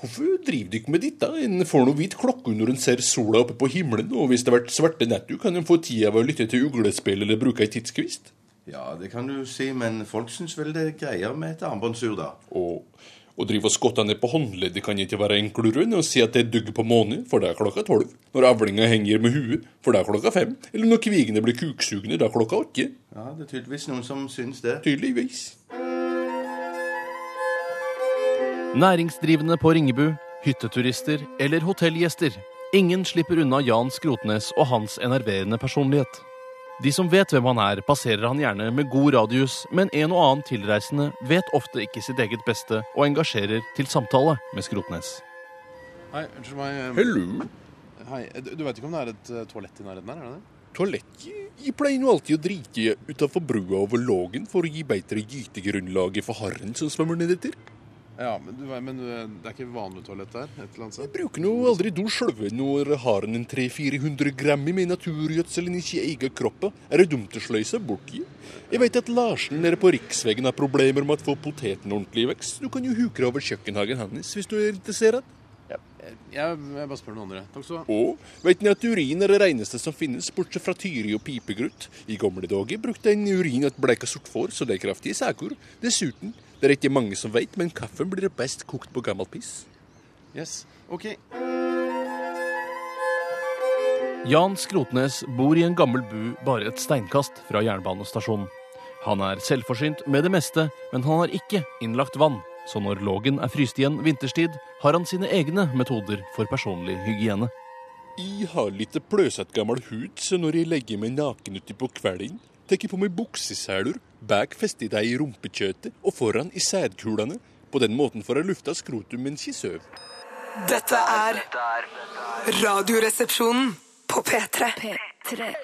Speaker 9: Hvorfor driver du ikke med dette? En får nå hvit klokke når en ser sola oppe på himmelen, og hvis det har vært svarte netter, kan en få tida ved å lytte til uglespill eller bruke ei tidskvist.
Speaker 3: Ja, det kan du si, men folk syns vel det er greier med et armbåndsur, da.
Speaker 9: Og å drive og skotte ned på håndleddet kan ikke være enklere enn å si at det er dugg på månen, for det er klokka tolv. Når avlinga henger med huet, for det er klokka fem. Eller når kvigene blir kuksugne, det er klokka åtte.
Speaker 3: Ja, det er tydeligvis noen som syns det.
Speaker 9: Tydeligvis.
Speaker 4: Næringsdrivende på Ringebu, hytteturister eller hotellgjester. Ingen slipper unna Jan Skrotnes og hans enerverende personlighet. De som vet hvem han er, passerer han gjerne med god radius, men en og annen tilreisende vet ofte ikke sitt eget beste og engasjerer til samtale med Skrotnes.
Speaker 2: Hei, unnskyld meg.
Speaker 9: Hello.
Speaker 2: Hei, du du vet ikke om det er et eh, toalett i nærheten her? er det det?
Speaker 9: Toalett Jeg pleier nå alltid å drite utafor brua over Lågen for å gi beitere gytegrunnlaget for harren som svømmer nedetter.
Speaker 2: Ja, men, du, men du, det er ikke vanlig toalett der? et eller annet sted?
Speaker 9: Bruker nå aldri do sjølve når haren en 300-400 gram i med naturgjødselen ikke eier kroppen. Er det dumt å sløyse bort i? Jeg veit at Larsen nede på Riksvegen har problemer med å få poteten ordentlig i vekst. Du kan jo huke deg over kjøkkenhagen hans hvis du er interessert.
Speaker 2: Jeg, jeg bare spør noen andre. Takk skal du ha.
Speaker 9: Og veit ni at urin er det reneste som finnes, bortsett fra tyri og pipegrutt. I gamle dager brukte en urin et bleika sort får, så det er kraftige saker. Dessuten, det er ikke mange som veit, men kaffen blir best kokt på gammelt piss.
Speaker 2: Yes, ok.
Speaker 4: Jan Skrotnes bor i en gammel bu bare et steinkast fra jernbanestasjonen. Han er selvforsynt med det meste, men han har ikke innlagt vann. Så når Lågen er fryst igjen vinterstid, har han sine egne metoder for personlig hygiene.
Speaker 9: Jeg har litt pløsete gammel hud, så når jeg legger meg naken uti på kvelden, tar jeg på meg bukseseler, bak fester jeg dem i rumpekjøttet og foran i sædkulene. På den måten får jeg lufta skrotum mens jeg sover.
Speaker 5: Dette er Radioresepsjonen på P3.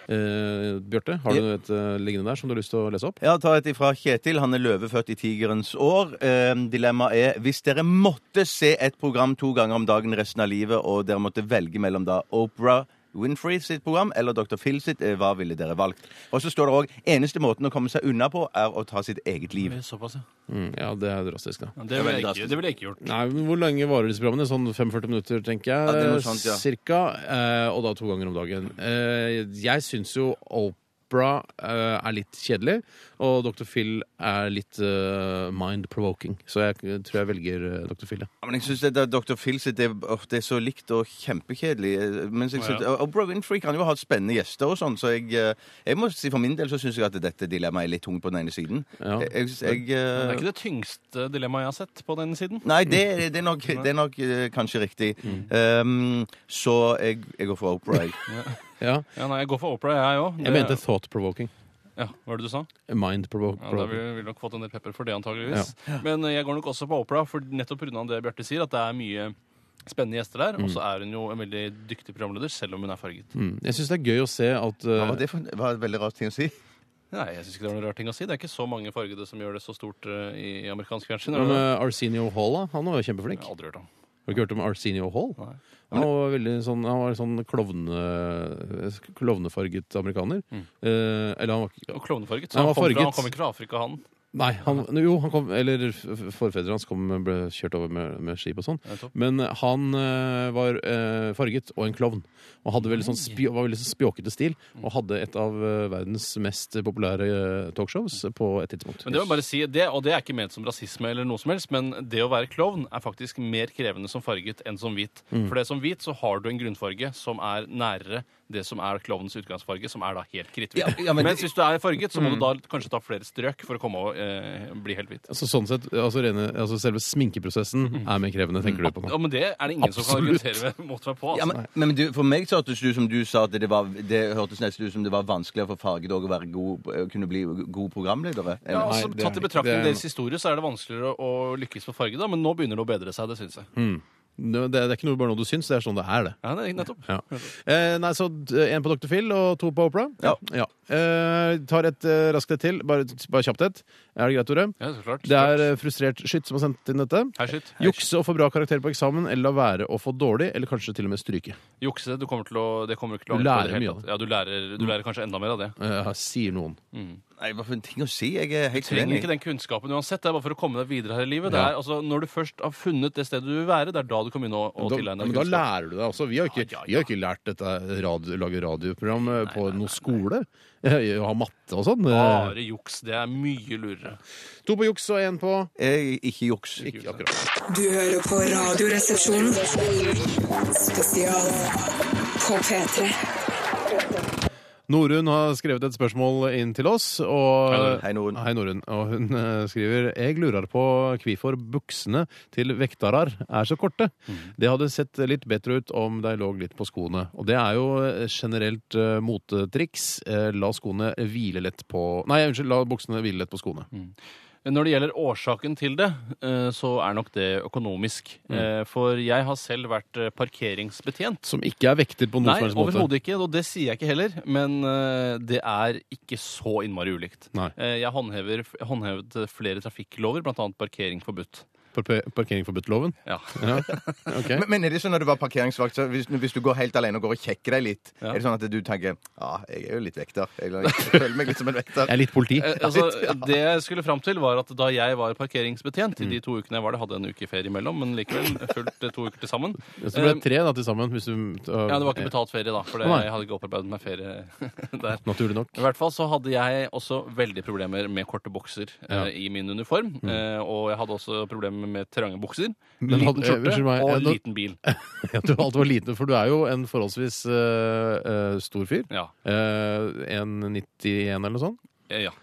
Speaker 2: Eh, Bjarte, har du et eh, liggende der som du har lyst til å lese opp?
Speaker 3: Ja, ta et ifra Kjetil. Han er løve født i tigerens år. Eh, Dilemmaet er hvis dere måtte se et program to ganger om dagen resten av livet, og dere måtte velge mellom da Opera Winfrey sitt program eller Dr. Phil sitt, eh, hva ville dere valgt? Og så står det òg eneste måten å komme seg unna på, er å ta sitt eget liv.
Speaker 4: Såpass, ja.
Speaker 2: Mm, ja, det er drastisk, da.
Speaker 4: Det ville jeg, ikke- det ville jeg ikke gjort.
Speaker 2: Nei, men Hvor lenge varer disse programmene? Sånn 45 minutter, tenker jeg.
Speaker 3: Ja, det er noe sånt, ja.
Speaker 2: Cirka. Eh, og da to ganger om dagen. Eh, jeg syns jo Opera eh, er litt kjedelig, og Dr. Phil er litt eh, mind-provoking. Så jeg eh, tror jeg velger eh, Dr. Phil. Ja.
Speaker 3: Ja, Men jeg syns Dr. Phil sitt det, åh, det er så likt og kjempekjedelig. Eh, Mens jeg
Speaker 4: Å,
Speaker 3: synes,
Speaker 4: ja.
Speaker 3: Opera Winfrey kan jo ha hatt spennende gjester og sånn, så jeg, eh, jeg må si for min del så syns jeg at dette dilemmaet er litt tungt på den ene siden.
Speaker 2: Ja.
Speaker 3: Jeg, jeg, jeg,
Speaker 4: Det
Speaker 3: eh,
Speaker 4: er ikke det tyngste dilemmaet jeg har sett på den siden.
Speaker 3: Nei, det, det er nok, det er nok eh, kanskje riktig.
Speaker 10: Ehm,
Speaker 3: Um, så jeg, jeg går for Opera. jeg.
Speaker 2: Ja,
Speaker 4: Ja, nei, Jeg går for Opera, jeg òg.
Speaker 2: jeg mente thought-provoking.
Speaker 4: ja, Hva var det du sa? Ja, da
Speaker 2: Mind-provoking.
Speaker 4: ville vi nok fått en del pepper for det, antageligvis. Men eh, jeg går nok også på Opera, for nettopp pga. det Bjarte sier, at det er mye spennende gjester der. Og så er hun jo en veldig dyktig programleder, selv om hun er farget.
Speaker 2: Mm. Jeg syns det er gøy å se at
Speaker 3: Hva
Speaker 2: eh,
Speaker 3: var det for det var en veldig rar ting å si?
Speaker 4: Nei, jeg synes ikke det er noe rar ting å si. Det er ikke så mange fargede som gjør det så stort eh, i i amerikansk fjernsyn.
Speaker 2: Hva
Speaker 4: er det det?
Speaker 2: med eh, Arsenio Hall, da? Han var jo kjempeflink.
Speaker 4: Jeg har aldri hørt om.
Speaker 2: Har du ikke hørt om Arsenio Hall?
Speaker 4: Nei.
Speaker 2: Han var veldig sånn, han var sånn klovne, klovnefarget amerikaner.
Speaker 4: Mm.
Speaker 2: Eh, eller han var ikke
Speaker 4: Og klovnefarget. Så
Speaker 2: Han var
Speaker 4: han, kom
Speaker 2: farget.
Speaker 4: Fra, han kom ikke fra Afrika, han.
Speaker 2: Nei, han, jo, han kom Eller f- forfedrene hans kom, ble kjørt over med, med skip og sånn.
Speaker 4: Nettopp.
Speaker 2: Men han eh, var eh, farget og en klovn. Og hadde veldig sånn spj var veldig sånn spjåkete stil. Og hadde et av eh, verdens mest populære eh, talkshows på et tidspunkt.
Speaker 4: Men det må jeg bare si, det, og det er ikke ment som rasisme eller noe som helst, men det å være klovn er faktisk mer krevende som farget enn som hvit.
Speaker 2: Mm.
Speaker 4: For det som hvit så har du en grunnfarge som er nærere det som er klovnens utgangsfarge, som er da helt kritthvit.
Speaker 3: Ja, ja, men-
Speaker 4: Mens hvis du er farget, så må du da kanskje ta flere strøk for å komme over eh, bli helt hvit.
Speaker 2: Mm. Altså, sånn sett, altså, rene, altså Selve sminkeprosessen er mer krevende, tenker du på.
Speaker 4: Mm. Ja, men det er det ingen som kan
Speaker 2: Absolutt.
Speaker 4: argumentere med- mot meg på. Altså.
Speaker 3: Ja, men men du, for meg så hørtes det ut som du sa at det, var, det hørtes nesten ut som det var vanskeligere for Fargedog å være god, kunne bli god programleder.
Speaker 4: Ja,
Speaker 2: Nei,
Speaker 4: altså,
Speaker 2: det er det
Speaker 4: Tatt i
Speaker 2: ikke.
Speaker 4: betraktning
Speaker 2: Det er-
Speaker 4: deres historie, så er det vanskeligere å å lykkes på farge, da, men nå begynner det å bedre seg. Det syns
Speaker 2: Mm.
Speaker 4: jeg.
Speaker 2: Det, det er ikke noe, bare noe du syns, det er sånn det er, det.
Speaker 4: Ja, det er nettopp.
Speaker 2: Ja. Eh, nei, så d- en på Dr. Phil og to på Opera.
Speaker 3: Ja.
Speaker 2: Eh, tar et eh, raskt et til. Bare, bare kjapt et. Er det greit, Tore?
Speaker 4: Ja, så klart.
Speaker 2: Det er eh, frustrert skytt som har sendt inn dette.
Speaker 4: Hei, shit.
Speaker 2: Jukse og få bra karakter på eksamen, eller la være å få dårlig, eller kanskje til og med stryke.
Speaker 4: Jukse, du kommer til å, det kommer du ikke til å
Speaker 2: Du
Speaker 4: angre på
Speaker 2: lærer
Speaker 4: i det hele
Speaker 2: mye av
Speaker 4: tatt.
Speaker 2: det.
Speaker 4: Ja, du lærer, du lærer kanskje enda mer av det.
Speaker 2: Eh, sier noen.
Speaker 3: Nei, hva for en ting å si? Jeg er helt
Speaker 4: trenger
Speaker 3: uenig.
Speaker 4: ikke den kunnskapen uansett. Det er bare for å komme deg videre her i livet. Det er, altså, når du først har funnet det stedet du vil være, det er da du kan begynne å, å
Speaker 2: Da,
Speaker 4: tilegne
Speaker 2: men
Speaker 4: deg
Speaker 2: da
Speaker 4: kunnskap.
Speaker 2: lærer du deg også. Vi har ikke, Vi har ikke lært dette radio, lage radioprogram eh, på noe skole. Eh, Ha matte og sånn. Eh,
Speaker 4: Bare juks. Det er mye lurere.
Speaker 2: To på juks og én på
Speaker 3: Jeg, ikke juks.
Speaker 2: Ikke akkurat.
Speaker 5: Du hører på Radioresepsjonen. Spesial på P3.
Speaker 2: Norun har skrevet et spørsmål inn til oss. Og,
Speaker 3: Hei, Norun.
Speaker 2: Hei, Norun. Og hun eh, skriver Jeg lurer på hvorfor buksene til vektarar er så korte. Det hadde sett litt bedre ut om de lå litt på skoene. Og det er jo generelt eh, motetriks. Eh, la skoene hvile lett på Nei, unnskyld. La buksene hvile lett på skoene.
Speaker 4: Når det gjelder årsaken til det, eh, så er nok det økonomisk.
Speaker 2: Mm.
Speaker 4: Eh, For jeg har selv vært eh, parkeringsbetjent.
Speaker 2: Som ikke er vekter på noen
Speaker 4: Nei,
Speaker 2: som helst måte.
Speaker 4: overhodet ikke. Og det sier jeg ikke heller. Men eh, det er ikke så innmari ulikt.
Speaker 2: Nei.
Speaker 4: Eh, jeg håndhever, håndhevet flere trafikklover, bl.a. parkering forbudt.
Speaker 2: Par- Parkeringsforbudt-loven?
Speaker 4: Ja.
Speaker 2: Ja. ok.
Speaker 10: Men, men er det sånn når du var parkeringsvakt, så hvis, hvis du går helt alene og går og kjekker deg litt, er
Speaker 4: Ja.
Speaker 10: det sånn at du tenker ja, jeg er jo litt vekter. Eller jeg føler meg litt som en vekter.
Speaker 2: Jeg er litt politi.
Speaker 4: Eh, altså, det jeg skulle fram til, var at da jeg var parkeringsbetjent, i de to ukene jeg var det, hadde jeg en uke ferie imellom, men likevel fulgt eh, to uker til sammen
Speaker 2: Så det ble
Speaker 4: eh,
Speaker 2: tre da til sammen. Hvis du,
Speaker 4: Ja, det var ikke betalt ferie, da, for det,
Speaker 2: Å, nei.
Speaker 4: jeg hadde ikke opparbeidet meg ferie der.
Speaker 2: Naturlig nok.
Speaker 4: I hvert fall så hadde jeg også veldig problemer med korte bukser
Speaker 2: Ja. Mm.
Speaker 4: eh, i min uniform. Eh, og jeg hadde også problemer med trange bukser,
Speaker 2: Men
Speaker 4: liten
Speaker 2: hadde- eh,
Speaker 4: skjorte
Speaker 2: unnskyld meg,
Speaker 4: og
Speaker 2: eh, nå-
Speaker 4: liten bil.
Speaker 2: Ja, du, alt var liten, for du er jo en forholdsvis eh, eh, stor fyr.
Speaker 4: Ja.
Speaker 2: Eh, 1,91 eller noe sånt.
Speaker 4: Eh, ja.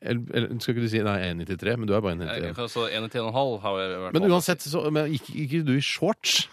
Speaker 2: Eller, eller skal ikke du si nei, 1,93, men du er bare
Speaker 4: Jeg-
Speaker 2: 1,91.
Speaker 4: Altså en til en og en halv har jeg vært
Speaker 2: Men uansett, så men gikk gikk ikke du i shorts?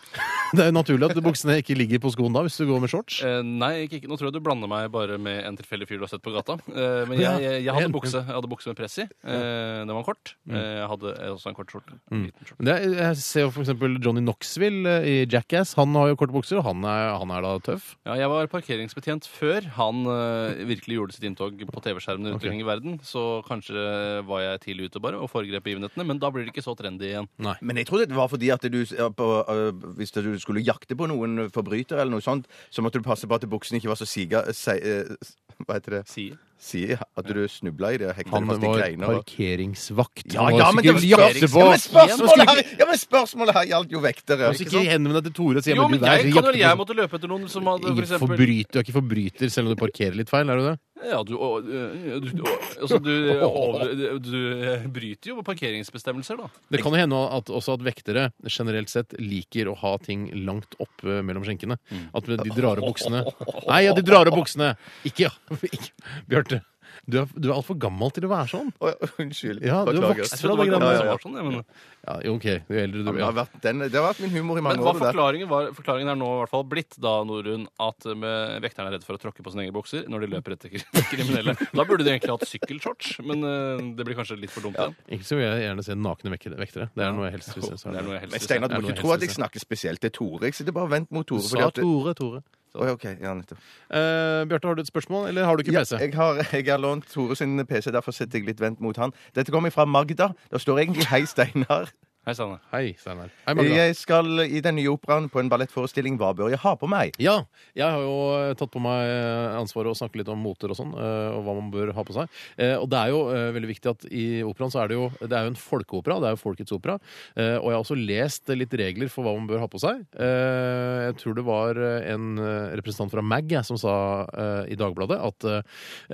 Speaker 2: Det er jo naturlig at buksene ikke ligger på skoen da, hvis du går med shorts.
Speaker 4: Eh, nei, ikke, ikke. nå tror jeg du blander meg bare med en tilfeldig fyr du har sett på gata. Eh, men jeg, jeg, jeg, hadde bukse, jeg hadde bukse med press i. Eh, den var kort. Eh, jeg hadde også en kort skjorte. En liten skjorte.
Speaker 2: Men Det er, jeg ser jo for eksempel Johnny Knoxville eh, i Jackass. Han har jo korte bukser, og han er, han er da tøff.
Speaker 4: Ja, jeg var parkeringsbetjent før han eh, virkelig gjorde sitt inntog på TV-skjermene rundt
Speaker 2: Ok.
Speaker 4: omkring i verden. Så kanskje var jeg tidlig ute bare og foregrep begivenhetene. Men da blir det ikke så trendy igjen.
Speaker 10: Men jeg trodde det var fordi at du ja, på, øh, hvis du skulle jakte på noen forbrytere eller noe sånt, så måtte du passe på at buksene ikke var så siga... Si, øh, hva heter det?
Speaker 4: Sier.
Speaker 10: Si, ja, at du snubla i det og hekta
Speaker 2: Han
Speaker 10: det fast i
Speaker 2: var
Speaker 10: greiner. og-
Speaker 2: parkeringsvakt.
Speaker 10: Ja,
Speaker 2: Han
Speaker 10: ja,
Speaker 2: var
Speaker 10: men det var
Speaker 2: sikkert jakte på-
Speaker 10: spørsmål, ja, men spørsmålet her, ja, men spørsmålet her gjaldt jo vektere.
Speaker 2: Han skal
Speaker 10: ikke
Speaker 2: ikke
Speaker 10: sant?
Speaker 2: henvende deg til Tore og si
Speaker 4: Jo,
Speaker 2: men
Speaker 4: men
Speaker 2: du, der,
Speaker 4: jeg, kan,
Speaker 2: jakter
Speaker 4: vel- jeg
Speaker 2: på-
Speaker 4: måtte løpe etter noen som hadde for
Speaker 2: Ingen
Speaker 4: eksempel
Speaker 2: forbryter, du er ikke forbryter selv om du parkerer litt feil, er du det?
Speaker 4: Ja, du, å, øh, du, å, altså, du, over, du eh, bryter jo parkeringsbestemmelser, da.
Speaker 2: Det kan jo hende at, også at vektere generelt sett liker å ha ting langt oppe mellom skjenkene. At de drar opp buksene. Nei, ja, de drar opp buksene! Ikke, ikke. Bjarte. Du er, du er altfor gammel til å være sånn.
Speaker 10: Å, ja, unnskyld.
Speaker 2: Ja, du har
Speaker 10: Beklager.
Speaker 2: vokst
Speaker 4: Jeg
Speaker 2: fra
Speaker 4: trodde
Speaker 2: det
Speaker 4: det var
Speaker 2: greiene
Speaker 10: ja,
Speaker 2: der.
Speaker 4: gamle som
Speaker 10: ja.
Speaker 4: var sånn, jeg, men
Speaker 2: Ja, jo, OK. Jo eldre du
Speaker 10: Ja, men
Speaker 2: blir.
Speaker 10: det, har
Speaker 2: Ja.
Speaker 10: vært den, det har vært min humor i mange
Speaker 4: Men hva
Speaker 10: år. det der.
Speaker 4: forklaringen, var, forklaringen er nå i hvert fall blitt da, Norun, at eh, med- vekterne er redd for å tråkke på sine egne bukser når de løper etter kri- kriminelle. Da burde de egentlig hatt sykkelshorts, men eh, det blir kanskje litt for dumt igjen.
Speaker 2: Ikke så vil jeg gjerne se nakne vektere- vektere. Det er noe jeg helst vil se. så er
Speaker 4: Det er
Speaker 2: det-
Speaker 4: noe jeg
Speaker 10: Men
Speaker 4: helst
Speaker 10: Steinar,
Speaker 4: vil se.
Speaker 10: du må
Speaker 2: Ja,
Speaker 10: ikke
Speaker 2: nå
Speaker 10: tro at jeg
Speaker 2: hilses det.
Speaker 10: snakker spesielt til Tore. Jeg sitter bare og venter mot Tore.
Speaker 2: Du
Speaker 10: fordi
Speaker 2: sa
Speaker 10: at-
Speaker 2: Tore, Tore.
Speaker 10: Oi, ok, ja, nettopp.
Speaker 2: Eh, Bjarte, har du et spørsmål, eller har du ikke
Speaker 10: Ja,
Speaker 2: PC?
Speaker 10: jeg, har, jeg har lånt Tore sin PC, derfor sitter jeg litt vendt mot han. Dette kommer fra Magda. Det står egentlig 'Hei, Steinar'.
Speaker 4: Hei, Steinar.
Speaker 2: Hei, Steinar. Hei, Magda.
Speaker 10: Jeg skal i den nye operaen på en ballettforestilling. Hva bør jeg ha på meg?
Speaker 2: Ja, jeg har jo eh, tatt på meg eh, ansvaret å snakke litt om moter og sånn, eh, og hva man bør ha på seg. Eh, Og det er jo eh, veldig viktig at i operaen så er det jo Det er jo en folkeopera, det er jo folkets opera. Eh, Og jeg har også lest eh, litt regler for hva man bør ha på seg. Eh, Jeg tror det var eh, en eh, representant fra MAG jeg, som sa eh, i Dagbladet at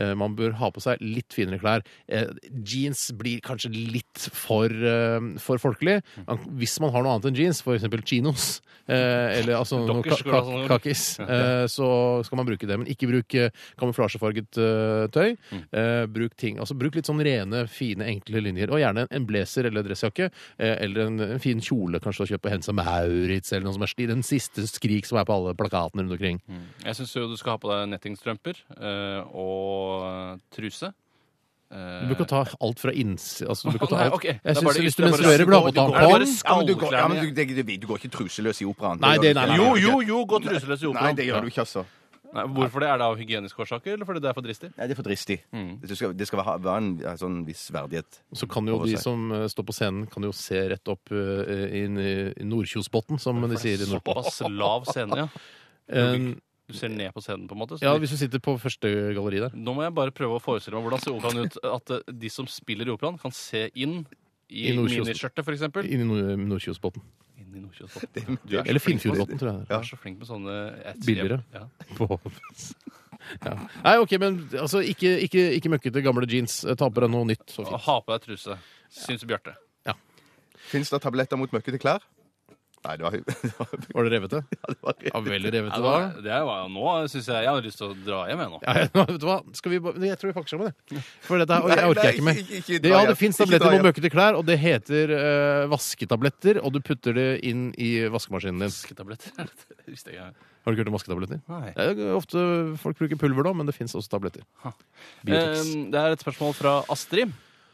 Speaker 2: eh, man bør ha på seg litt finere klær. Eh, Jeans blir kanskje litt for, eh, for folkelig. Man- Hvis man har noe annet enn jeans, f.eks. chinos, eh, eller altså noe
Speaker 4: Dockers
Speaker 2: ka-
Speaker 4: skulle
Speaker 2: ka-
Speaker 4: ha sånn- sånne.
Speaker 2: kakis, eh, så skal man bruke det. Men ikke bruk eh, kamuflasjefarget eh, tøy.
Speaker 4: Mm.
Speaker 2: Eh, bruk ting, altså bruk litt sånn rene, fine, enkle linjer. Og gjerne en blazer eller dressjakke, eh, eller en, en fin kjole kanskje å kjøpe på Hensa Maurits, eller noe som er stil. Den siste skrik som er på alle plakatene rundt omkring.
Speaker 4: Jeg syns jo du skal ha på deg nettingstrømper eh, og eh, truse. Eh,
Speaker 2: Du bør ikke ta alt fra innsiden altså, du bør ikke ta
Speaker 4: Nei,
Speaker 2: alt.
Speaker 4: ok. Det er
Speaker 2: Jeg
Speaker 4: bare
Speaker 2: synes
Speaker 4: det
Speaker 2: Hvis du
Speaker 4: ytterste, bare
Speaker 2: menstruerer, bør du ha på
Speaker 4: det går- det er bare
Speaker 2: tampong.
Speaker 10: Ja, men du går, ja, men
Speaker 4: Skallen,
Speaker 10: du, det, du, du går ikke truseløs i operaen.
Speaker 2: Nei, det- nei, nei.
Speaker 4: Jo, jo, jo, gå truseløs i
Speaker 10: Nei,
Speaker 4: operaen.
Speaker 10: det gjør du ikke, altså.
Speaker 4: Nei, Hvorfor det? Er det av hygieniske årsaker, eller fordi det er for dristig?
Speaker 10: Nei, det er for dristig. Det skal, det skal være, være en ja, sånn viss verdighet.
Speaker 2: Så kan jo
Speaker 10: over
Speaker 2: de
Speaker 10: seg.
Speaker 2: som eh, står på scenen, kan jo se rett opp eh, inn i i Nordkjosbotn, som de sier i Nordpå.
Speaker 4: Såpass lav scene, ja.
Speaker 2: Eh,
Speaker 4: Du ser ned på scenen, på en måte. så
Speaker 2: Ja,
Speaker 4: de-
Speaker 2: hvis du sitter på første galleri der.
Speaker 4: Nå må jeg bare prøve å forestille meg hvordan ser operaen ut. At eh, de som spiller i operaen, kan se inn i,
Speaker 2: I Nordkjos-
Speaker 4: miniskjørtet, f.eks.
Speaker 2: Inn i Nord- Nordkjosbotn.
Speaker 4: Inn i Nordkjosbotn. Du er så
Speaker 2: Eller
Speaker 4: flink på-
Speaker 2: Finnfjordbotn, tror jeg.
Speaker 4: Du er så flink med sånne jeg-
Speaker 2: Billigere.
Speaker 4: Ja.
Speaker 2: På- Ja. Nei, ok, men altså, ikke, ikke, ikke møkkete gamle jeans. Eh, Ta på deg noe nytt. Så
Speaker 4: Og
Speaker 2: fint.
Speaker 4: Ha på deg truse, syns Bjarte.
Speaker 10: Fins det tabletter mot møkkete klær? Nei, det var, det var,
Speaker 2: Var det revete?
Speaker 10: det var
Speaker 2: Ja, veldig revete.
Speaker 4: Det
Speaker 2: da.
Speaker 4: var, det var, nå syns jeg jeg har lyst til å dra hjem, jeg nå.
Speaker 2: Ja, ja, vet du hva? Skal vi, bare- jeg tror vi pakker sammen, det. For dette her, og jeg
Speaker 10: Nei,
Speaker 2: orker
Speaker 10: nei,
Speaker 2: jeg ikke med.
Speaker 10: ikke- ikke
Speaker 2: det,
Speaker 10: dra
Speaker 2: ja,
Speaker 10: hjem.
Speaker 2: det fins
Speaker 10: Ikke dra
Speaker 2: tabletter mot
Speaker 10: hjem.
Speaker 2: møkkete klær, og det heter eh, vasketabletter. Og du putter det inn i vaskemaskinen din.
Speaker 4: Vasketabletter. Det visste jeg ikke.
Speaker 2: Har du ikke hørt om vasketabletter?
Speaker 4: Nei.
Speaker 2: Det er jo ofte folk bruker pulver da, men det fins også tabletter. Biotex.
Speaker 4: Eh, Det er et spørsmål fra Astrid.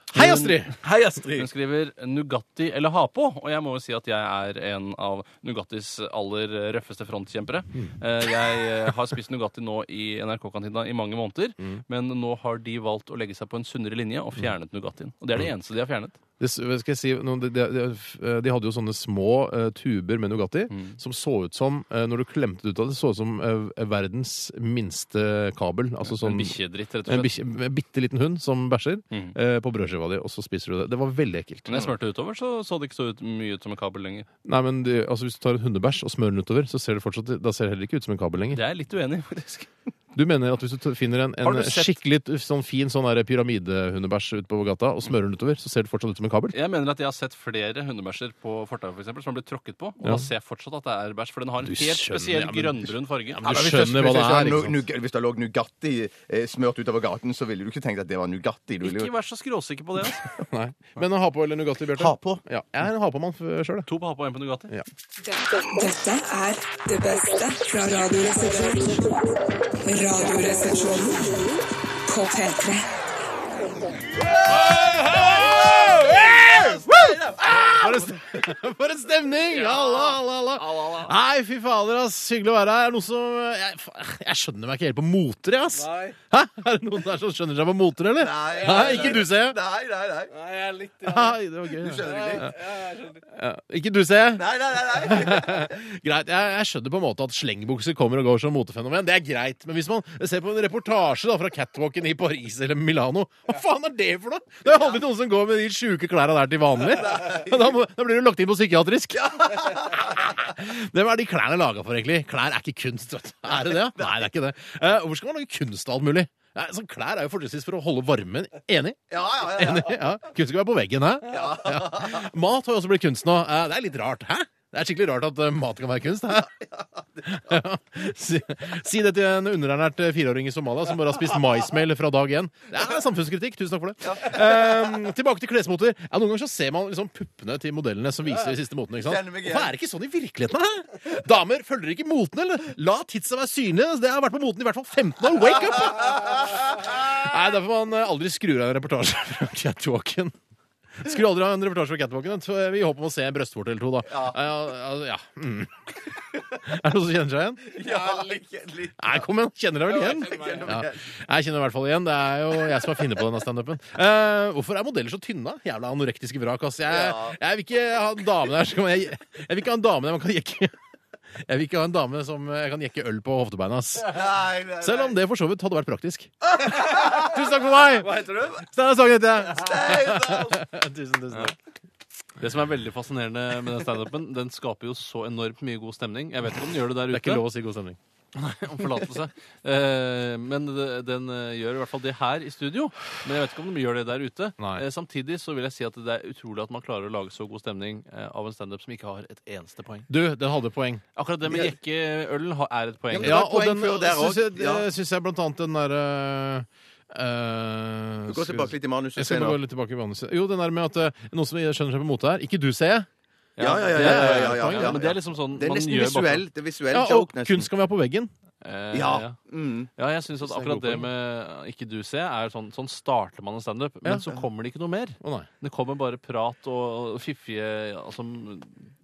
Speaker 2: Hei, Astrid!
Speaker 4: Mm, Hei, Astrid! Hun skriver Nugatti eller ha på. Og jeg må jo si at jeg er en av Nugattis aller røffeste frontkjempere.
Speaker 2: Mm.
Speaker 4: Eh, Jeg eh, har spist Nugatti nå i NRK-kantina i mange måneder,
Speaker 2: Mm.
Speaker 4: men nå har de valgt å legge seg på en sunnere linje og fjernet Nugattien. Og det er det
Speaker 2: Mm.
Speaker 4: eneste de har fjernet.
Speaker 2: Det, skal jeg si, noe, de, de, de, de hadde jo sånne små eh, tuber med Nugatti
Speaker 4: Mm.
Speaker 2: som så ut som, eh, når du klemte det ut av det, så ut som eh, verdens minste kabel. Altså sånn,
Speaker 4: en bikkjedritt, rett
Speaker 2: en
Speaker 4: og slett.
Speaker 2: bikkje- en bitte liten hund som bæsjer
Speaker 4: Mm.
Speaker 2: eh, på brødskiva di, og så spiser du det. Det var veldig ekkelt.
Speaker 4: Men jeg smørte utover, så så det ikke så ut, mye ut som en kabel lenger.
Speaker 2: Nei, men de, altså, Hvis du tar en hundebæsj og smører den utover, så ser det fortsatt, da ser det heller ikke ut som en kabel lenger.
Speaker 4: Det er jeg litt uenig i, faktisk.
Speaker 2: Du mener at hvis du t- finner en,
Speaker 4: Har
Speaker 2: en
Speaker 4: du sett-
Speaker 2: skikkelig t- sånn fin sånn der pyramidehundebæsj ute på gata og smører den utover, så ser det fortsatt ut som en kabel?
Speaker 4: Jeg mener at jeg har sett flere hundebæsjer på fortauet for eksempel, som har blitt tråkket på. Og
Speaker 2: Ja.
Speaker 4: da ser jeg fortsatt at det er bæsj, for den har en
Speaker 2: Du
Speaker 4: helt
Speaker 2: skjønner,
Speaker 4: spesiell
Speaker 2: ja, men-
Speaker 4: grønnbrun farge.
Speaker 2: men du
Speaker 10: Hvis det-
Speaker 2: skjønner hva det er.
Speaker 10: Hvis
Speaker 2: ikke
Speaker 10: det,
Speaker 2: sant?
Speaker 10: nu, nu, hvis det lå Nugatti eh, smørt utover gaten, så ville du ikke tenkt at det var Nugatti. Du ville
Speaker 4: Ikke
Speaker 10: jo
Speaker 4: vær så skråsikker på det. Altså.
Speaker 2: Nei. Men ha på eller Nugatti, Bjarte?
Speaker 10: Ha på.
Speaker 2: Ja, jeg er en ha på-mann sjøl,
Speaker 4: To på hapa og en på Nugatti.
Speaker 5: Dette er det beste fra Radioresepsjonen. Radioresepsjonen på P3.
Speaker 2: For en stemning! Halla, halla, halla. Nei, fy fader, ass. Hyggelig å være her. Er det Noen som jeg, fa- jeg skjønner meg ikke helt på moter, jeg, ass.
Speaker 11: Nei.
Speaker 2: Hæ? Er det noen der som skjønner seg på moter, eller?
Speaker 10: Nei,
Speaker 2: ikke du, ser jeg.
Speaker 10: Nei, nei, nei.
Speaker 11: Nei, jeg er litt ja.
Speaker 2: Nei, det var gøy.
Speaker 10: Du skjønner ikke.
Speaker 2: Ja. Ikke du, ser jeg.
Speaker 10: Nei, nei, nei, nei.
Speaker 2: Greit, jeg, jeg skjønner på en måte at slengbukser kommer og går som motefenomen. Det er greit, men hvis man ser på en reportasje da, fra catwalken i Paris eller Milano, hva faen er det for noe?! Det er jo aldri noen som går med de sjuke klærne der til vanlig. Da, må, da blir du lagt inn på psykiatrisk. Hvem er de klærne laga for, egentlig? Klær er ikke kunst, vet du. Er det det? Nei, det er ikke det. Eh, Hvorfor skal man lage kunst av alt mulig? Nei, sånn Klær er jo fortrinnsvis for å holde varmen. Enig?
Speaker 10: Ja, ja, ja.
Speaker 2: Enig, ja. Kunst skal være på veggen, hæ? Ja. Mat har jo også blitt kunst nå. Eh, Det er litt rart, hæ? Det er skikkelig rart at eh, mat kan være kunst. hæ? Ja. Si, si det til en underernært eh, fireåring i Somalia som bare har spist maismel fra dag én. Det er samfunnskritikk. Tusen takk for det. Eh, tilbake til klesmoter. Ja, noen ganger så ser man liksom puppene til modellene som viser de siste motene. ikke sant?
Speaker 10: Kjenner meg igjen.
Speaker 2: Hvorfor er det ikke sånn i virkeligheten? hæ? Damer følger ikke moten, eller? La titsa være synlig. Det har vært på moten i hvert fall 15 år. Wake up! Nei, derfor man eh, aldri skrur av en reportasje fra catwalken. Skrur aldri av en reportasje fra catwalken. Så eh, vi håper om å se en brystvorte eller to, da. Ja. ja, Mm. Er det noen som kjenner seg igjen?
Speaker 10: Ja, litt- litt.
Speaker 2: Nei, kom igjen, kjenner deg vel igjen? Ja. Jeg kjenner i hvert fall igjen. Det er jo jeg som har funnet på denne standupen. Uh, hvorfor er modeller så tynne? da? Jævla anorektiske vrak, ass. Jeg, jeg vil ikke ha en dame der som jeg, jeg vil ikke ha en dame der man kan jekke Jeg vil ikke ha en dame som jeg kan jekke øl på hoftebeina, ass.
Speaker 10: Nei, nei,
Speaker 2: Selv om det for så vidt hadde vært praktisk. Tusen takk for meg! Hva heter du? Steinar Sagen heter jeg. tusen, tusen takk.
Speaker 4: Det som er veldig fascinerende med den standupen, den skaper jo så enormt mye god stemning. Jeg vet ikke om den gjør det der
Speaker 2: Det er ikke
Speaker 4: ute.
Speaker 2: lov å si god stemning.
Speaker 4: om forlatelse. Eh, men det- den eh, gjør i hvert fall det her i studio. Men jeg vet ikke om den gjør det der ute.
Speaker 2: Nei.
Speaker 4: Eh, samtidig så vil jeg si at det er utrolig at man klarer å lage så god stemning eh, av en standup som ikke har et eneste poeng.
Speaker 2: Du, den hadde poeng.
Speaker 4: Akkurat det med jekkeølen har- er et poeng.
Speaker 3: men det var
Speaker 2: og
Speaker 3: poeng
Speaker 2: den
Speaker 3: før der
Speaker 2: syns jeg,
Speaker 3: også.
Speaker 2: det
Speaker 3: Ja.
Speaker 2: syns jeg blant annet den derre eh,
Speaker 3: Du går
Speaker 2: skal-
Speaker 3: tilbake litt i manuset.
Speaker 2: Jeg skal bare
Speaker 3: Steinar.
Speaker 2: gå litt tilbake i manuset. Jo, den der med at eh, noen som skjønner seg på mote her. Ikke du, ser jeg.
Speaker 3: Ja, ja, ja,
Speaker 4: Det
Speaker 3: ja,
Speaker 4: er
Speaker 3: ja,
Speaker 4: et
Speaker 3: ja, ja,
Speaker 4: poeng,
Speaker 3: ja.
Speaker 4: Men det er liksom sånn
Speaker 3: Det er
Speaker 4: man
Speaker 3: nesten
Speaker 4: gjør bakfra.
Speaker 3: visuell. Det er visuell
Speaker 2: Ja, og
Speaker 3: joke, nesten.
Speaker 2: kunst kan vi ha på veggen.
Speaker 4: Eh,
Speaker 3: Ja. Mm.
Speaker 4: Ja, jeg synes at
Speaker 2: det er
Speaker 4: akkurat
Speaker 2: gode
Speaker 4: det
Speaker 2: poeng.
Speaker 4: med ikke du se, er sånn, sånn starter man en standup,
Speaker 2: Ja.
Speaker 4: men så kommer det ikke noe mer.
Speaker 2: Å nei.
Speaker 4: Det kommer bare prat og og fiffige altså,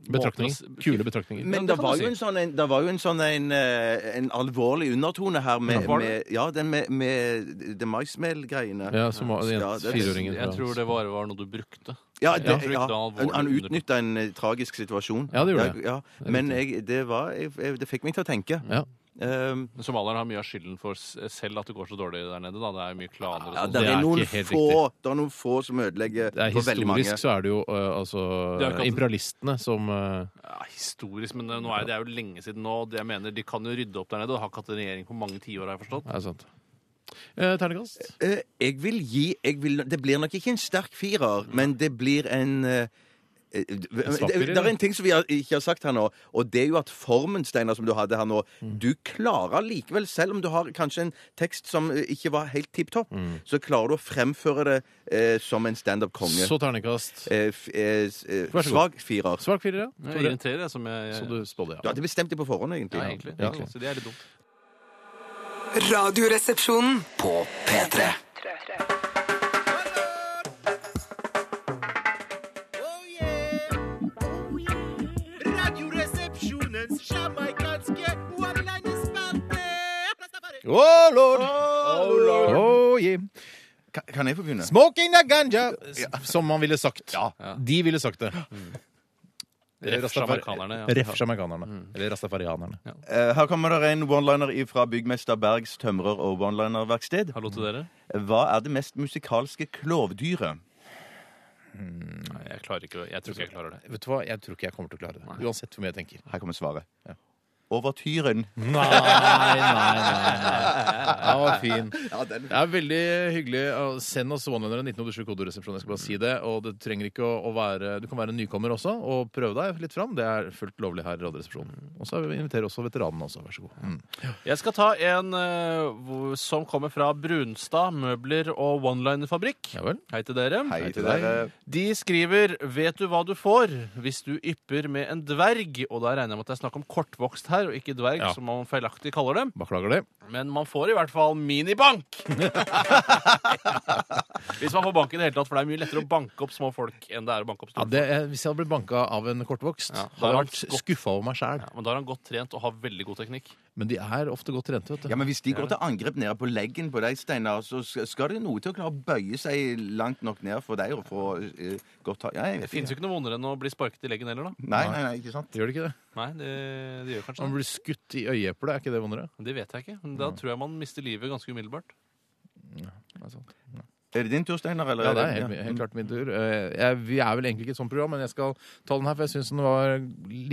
Speaker 2: Betraktninger.
Speaker 3: altså.
Speaker 4: måter å s-
Speaker 2: Kule betraktninger.
Speaker 4: Ja,
Speaker 3: Men
Speaker 4: det
Speaker 3: det
Speaker 4: kan
Speaker 3: var jo
Speaker 4: du si.
Speaker 3: en sånn, en, det var jo en, sånn en, eh, en alvorlig undertone her med,
Speaker 4: var det?
Speaker 3: med, ja, den med, med det maismel-greiene.
Speaker 2: Ja, som var den
Speaker 3: Ja, det-
Speaker 2: fireåringen.
Speaker 4: Jeg tror det bare var noe du brukte.
Speaker 3: Ja, det,
Speaker 4: Jeg tror ikke
Speaker 3: ja.
Speaker 4: det var
Speaker 3: Han,
Speaker 4: alvorlig
Speaker 3: han
Speaker 4: undertone.
Speaker 3: utnytta en eh, tragisk situasjon.
Speaker 2: Ja, det gjorde det.
Speaker 3: Ja,
Speaker 2: er
Speaker 3: men jeg, det, var, jeg, jeg, det fikk meg til å tenke.
Speaker 2: Ja.
Speaker 3: Um,
Speaker 4: Men somalierne har mye av skylden for s- selv at det går så dårlig der nede. Da. Det er jo mye klaner og
Speaker 3: ja,
Speaker 4: sånt.
Speaker 3: det,
Speaker 2: det
Speaker 3: er
Speaker 2: er
Speaker 3: noen
Speaker 2: ikke helt
Speaker 3: få, det er noen få som ødelegger
Speaker 2: Det er
Speaker 3: for veldig mange.
Speaker 2: historisk så er det jo eh, altså
Speaker 4: Det er ikke at-
Speaker 2: imperialistene som eh,
Speaker 4: Ja, historisk, men det- nå er, det er jo lenge siden nå. Det jeg mener, De kan jo rydde opp der nede. og har ikke hatt en regjering på mange tiår, har jeg forstått.
Speaker 2: er sant. Eh, Ternekast?
Speaker 3: Eh, jeg vil gi jeg vil, Det blir nok ikke en sterk firer, men det blir en eh, eh,
Speaker 2: svak
Speaker 3: det,
Speaker 2: firer,
Speaker 3: det er
Speaker 2: ja.
Speaker 3: en ting som vi har, ikke har sagt her nå, og det er jo at formen, Steinar, som du hadde her nå
Speaker 2: Mm.
Speaker 3: Du klarer likevel, selv om du har kanskje en tekst som eh, ikke var helt tipp topp,
Speaker 2: Mm.
Speaker 3: så klarer du å fremføre det eh, som en standup-konge.
Speaker 2: Så ternekast.
Speaker 3: Eh, f- eh, s- eh,
Speaker 2: Vær så god.
Speaker 3: svak firer.
Speaker 2: Svak firer, ja.
Speaker 4: Jeg
Speaker 2: Tore.
Speaker 4: irriterer, jeg, som jeg,
Speaker 2: Så
Speaker 4: jeg
Speaker 2: du
Speaker 3: Du
Speaker 2: spådde, ja.
Speaker 3: hadde bestemt det på forhånd,
Speaker 4: ja,
Speaker 3: egentlig.
Speaker 4: egentlig.
Speaker 2: Ja.
Speaker 4: Så det er litt dumt.
Speaker 1: Radioresepsjonen.
Speaker 2: Oh lord! Oh, yeah.
Speaker 3: Kan, kan jeg få begynne?
Speaker 2: Smoking the ganja! Som man ville sagt. De ville sagt det.
Speaker 4: Ref jamaikanerne, ja. Mm.
Speaker 2: Ref sjamaikanerne. Eller rastafarianerne.
Speaker 3: Eh, her kommer det en one-liner fra byggmester Bergs tømrer- og one-liner-verksted.
Speaker 4: Hallo til dere.
Speaker 3: Hva er det mest musikalske klovdyret?
Speaker 4: Nei, jeg klarer ikke å- Jeg tror ikke jeg klarer det.
Speaker 2: Vet du hva, jeg tror ikke jeg kommer til å klare det. Uansett hvor mye jeg tenker.
Speaker 3: Her kommer svaret. Overtyren.
Speaker 2: Nei, nei, nei. Den var fin. Det er veldig hyggelig. å- Send oss one-linere 1987 koderesepsjon. Jeg skal bare si det. Og det trenger ikke å, å være Du kan være en nykommer også og prøve deg litt fram. Det er fullt lovlig her i
Speaker 4: Mm.
Speaker 2: Radioresepsjonen. Og så inviterer vi også veteranene også. Vær så god. Mm.
Speaker 4: Jeg skal ta en eh, hvor- som kommer fra Brunstad møbler- og one-liner-fabrikk.
Speaker 2: Ja vel.
Speaker 4: Hei til dere.
Speaker 3: Hei til
Speaker 2: deg.
Speaker 3: dere.
Speaker 4: De skriver 'Vet du hva du får hvis du ypper med en dverg'? Og da regner jeg med at det er snakk om kortvokst her, og ikke dverg,
Speaker 2: Ja.
Speaker 4: som man feilaktig kaller dem.
Speaker 2: Beklager det.
Speaker 4: Men man får i hvert fall minibank! hvis man får bank i det hele tatt, for det er mye lettere å banke opp små folk enn det er å banke opp
Speaker 2: Ja,
Speaker 4: store
Speaker 2: det er, hvis jeg hadde blitt banka av en kortvokst,
Speaker 4: Ja,
Speaker 2: da hadde jeg
Speaker 4: det er
Speaker 2: vært skuffa over meg sjæl.
Speaker 4: folk. Ja, men da er han godt trent og har veldig god teknikk.
Speaker 2: Men de er ofte godt trente, vet du.
Speaker 3: Ja, men Hvis de går til angrep nede på leggen på deg, Steinar, så sk- skal det noe til å klare å bøye seg langt nok ned for deg og få eh, godt tak Ja, jeg
Speaker 4: Det
Speaker 3: vet
Speaker 4: fins
Speaker 3: ikke.
Speaker 4: jo ikke noe vondere enn å bli sparket i leggen heller, da.
Speaker 3: Nei, nei, nei, ikke sant?
Speaker 2: Gjør de ikke det?
Speaker 4: Nei, det, det gjør kanskje
Speaker 2: Man
Speaker 4: det.
Speaker 2: blir skutt i øyeeplet, er ikke det vondere?
Speaker 4: Det vet jeg ikke. Men da tror jeg man mister livet ganske umiddelbart.
Speaker 3: Er det din tur, Steinar? eller?
Speaker 2: Ja, det er helt, helt klart min tur. Eh, Jeg, vi er vel egentlig ikke et sånt program, men jeg skal ta den her, for jeg syns den var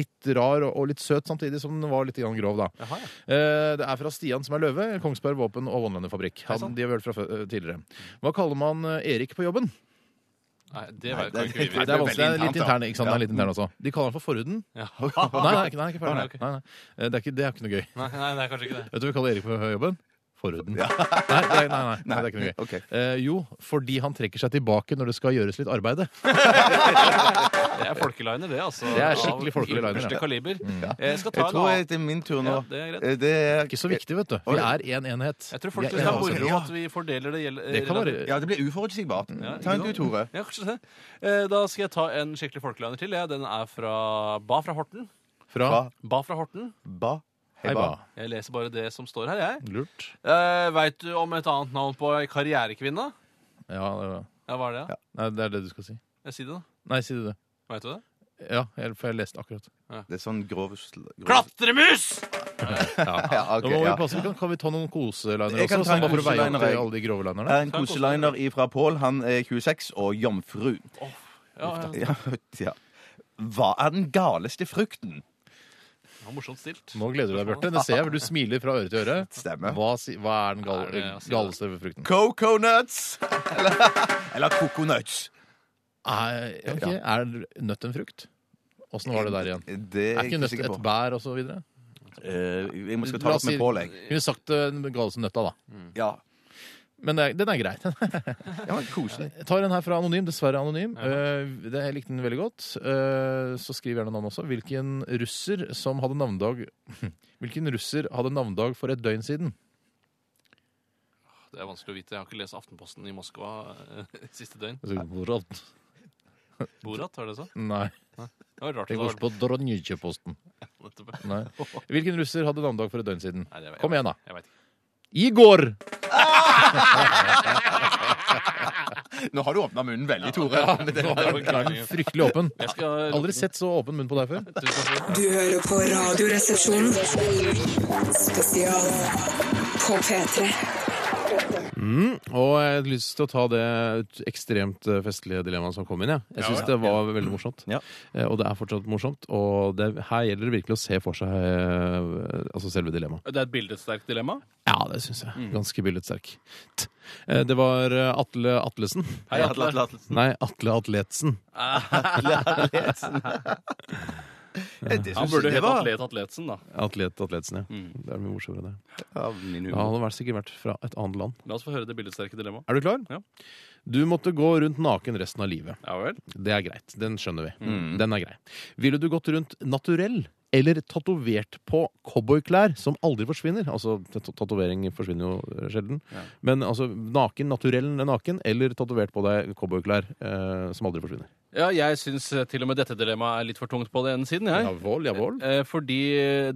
Speaker 2: litt rar og, og litt søt, samtidig som den var litt grann grov, da.
Speaker 4: Jaha, ja.
Speaker 2: Eh, Det er fra Stian som er løve, Kongsberg Våpen og Vonlanderfabrikk.
Speaker 4: Hei sann.
Speaker 2: De har vi hørt fra fø- eh, tidligere. Hva kaller man eh, Erik på jobben?
Speaker 4: Nei, det
Speaker 3: Nei,
Speaker 4: var
Speaker 3: det-
Speaker 4: kan ikke vi
Speaker 2: Det
Speaker 4: vite.
Speaker 2: er vanskelig, det er
Speaker 3: veldig
Speaker 2: litt
Speaker 3: internt, da.
Speaker 2: intern, ikke sant? Det er litt intern også. De kaller han for Forhuden.
Speaker 4: Ja.
Speaker 2: Nei, nei, ikke- nei, ikke Forhuden.
Speaker 4: Nei, ok.
Speaker 2: Nei, nei. Eh, Det er ikke, det er ikke noe gøy.
Speaker 4: Nei, nei, det er kanskje ikke det.
Speaker 2: Vet du hva vi kaller Erik på jobben? Forhuden. Nei, nei, nei, nei, nei, det er ikke noe gøy.
Speaker 3: Ok.
Speaker 2: Eh, jo, fordi han trekker seg tilbake når det skal gjøres litt arbeid.
Speaker 4: Det er folkeliner, det. altså.
Speaker 2: Det er skikkelig folkelig
Speaker 4: Av
Speaker 2: liner, ja.
Speaker 4: Første kaliber. Eh, Jeg skal ta
Speaker 3: Jeg
Speaker 4: en
Speaker 3: tror
Speaker 4: annen.
Speaker 3: det er min tur nå.
Speaker 4: Ja, det er greit.
Speaker 3: Eh, Det er
Speaker 2: Ikke så viktig, vet du.
Speaker 3: Oi.
Speaker 2: Vi er én en enhet.
Speaker 4: Jeg tror folk
Speaker 2: Vi
Speaker 4: syns det
Speaker 2: én
Speaker 4: er
Speaker 2: enhet.
Speaker 4: moro
Speaker 3: Ja.
Speaker 4: at vi fordeler det. gjel-
Speaker 2: Det kan være
Speaker 3: Ja, det blir uforutsigbart. Ta en du, Tore.
Speaker 4: Ja, kanskje det. Eh, Da skal jeg ta en skikkelig folkeliner til. Ja. Den er fra Ba fra Horten.
Speaker 2: fra
Speaker 3: Ba,
Speaker 4: Ba fra Horten.
Speaker 3: ba, hei,
Speaker 2: Hei,
Speaker 3: ba.
Speaker 2: ba.
Speaker 4: Jeg leser bare det som står her, jeg.
Speaker 2: Lurt.
Speaker 4: Eh, Veit du om et annet navn på ei karrierekvinne?
Speaker 2: Ja, det var-
Speaker 4: Ja, hva er det? Ja?
Speaker 2: Nei, det er det du skal si.
Speaker 4: Jeg sier det, da.
Speaker 2: Nei, si det, du.
Speaker 4: Veit du det?
Speaker 2: Ja, jeg- for jeg leste akkurat.
Speaker 3: Det er sånn grov sl- grov-
Speaker 4: Klatremus!
Speaker 3: Ja, ok,
Speaker 2: Nå må
Speaker 3: ja.
Speaker 2: vi passe. Vi kan, kan vi ta noen koselinere
Speaker 3: Jeg kan
Speaker 2: også?
Speaker 3: ta en
Speaker 2: Sånn bare for å veie opp
Speaker 3: koseliner, jeg.
Speaker 2: til alle de grove linerne.
Speaker 3: En koseliner fra Pål. Han er 26 og jomfru.
Speaker 4: Ja,
Speaker 3: Ja,
Speaker 4: ja.
Speaker 3: ja. Hva er den galeste frukten?
Speaker 4: Det var morsomt stilt.
Speaker 2: Nå gleder du deg, Bjarte. Det ser jeg, for du smiler fra øre til øre.
Speaker 10: Stemmer.
Speaker 2: Hva, si- hva er den gal-
Speaker 4: Hva er det jeg sier?
Speaker 2: galeste frukten?
Speaker 10: Coconuts! Eller, eller coconuts.
Speaker 2: Er, ok, er nøtt en frukt? Åssen var det der igjen?
Speaker 10: Det
Speaker 2: Er ikke nøtt
Speaker 10: sikker
Speaker 2: et
Speaker 10: på.
Speaker 2: bær og så videre?
Speaker 10: Eh, jeg må skal
Speaker 2: La
Speaker 10: ta det
Speaker 2: oss
Speaker 10: opp med
Speaker 2: si-
Speaker 10: Pål, jeg.
Speaker 2: Kunne sagt eh, den galeste nøtta, da.
Speaker 10: Ja.
Speaker 2: Men det er, den er grei.
Speaker 10: ja men koselig.
Speaker 2: Jeg tar en her fra Anonym. Dessverre anonym. Eh, det, jeg likte den veldig godt. Eh, så skriv gjerne navnet også. Hvilken russer som hadde navnedag Hvilken russer hadde navnedag for et døgn siden?
Speaker 4: Det er vanskelig å vite. Jeg har ikke lest Aftenposten i Moskva eh, siste døgn.
Speaker 2: Nei.
Speaker 4: Borat, var det sånn? så? Det var rart.
Speaker 2: Det
Speaker 4: at
Speaker 2: går
Speaker 4: det var-
Speaker 2: på Dronjitsjeposten.
Speaker 4: Nettopp.
Speaker 2: Nei. Hvilken russer hadde navnedag for et døgn siden?
Speaker 4: Nei, det var-
Speaker 2: Kom igjen, da.
Speaker 4: Jeg vet ikke.
Speaker 2: I går!
Speaker 10: Nå har du åpna munnen veldig, Tore.
Speaker 2: Nå er den Fryktelig åpen.
Speaker 4: Jeg skal
Speaker 2: Aldri sett så åpen munn på deg før.
Speaker 4: Tusen takk.
Speaker 5: Du hører på Radioresepsjonen. Spesial på P3.
Speaker 2: Og jeg har lyst til å ta det ekstremt eh, festlige dilemmaet som kom inn. Jeg, jeg syns det var veldig morsomt.
Speaker 10: Ja.
Speaker 2: Eh, Og det er fortsatt morsomt. Og det, her gjelder det virkelig å se for seg eh, altså selve dilemmaet.
Speaker 4: Det er et billedsterkt dilemma.
Speaker 2: Ja, det syns jeg. Ganske billedsterk. T. Eh, Det var eh, Atle Atlesen.
Speaker 4: Hei, Atle.
Speaker 2: Nei, Atle Atletsen.
Speaker 10: Eh,
Speaker 4: Han burde hete Atlet Atletsen, da.
Speaker 2: Atlet Atletsen, ja. Det er mye morsommere, det. Ja,
Speaker 10: Ja,
Speaker 2: han hadde vært- sikkert vært fra et annet land.
Speaker 4: La oss få høre det billedsterke dilemmaet.
Speaker 2: Er du klar?
Speaker 4: Ja.
Speaker 2: Du måtte gå rundt naken resten av livet.
Speaker 4: Ja vel.
Speaker 2: Det er greit. Den skjønner vi. Den er grei. Ville du gått rundt naturell eller tatovert på cowboyklær som aldri forsvinner? Altså, tat- tatovering forsvinner jo eh, sjelden. Men altså, naken, naturell naken, eller tatovert på deg cowboyklær eh, som aldri forsvinner?
Speaker 4: Ja, jeg syns eh, til og med dette dilemmaet er litt for tungt på den ene siden, jeg.
Speaker 2: Jawohl, jawohl.
Speaker 4: Eh, Fordi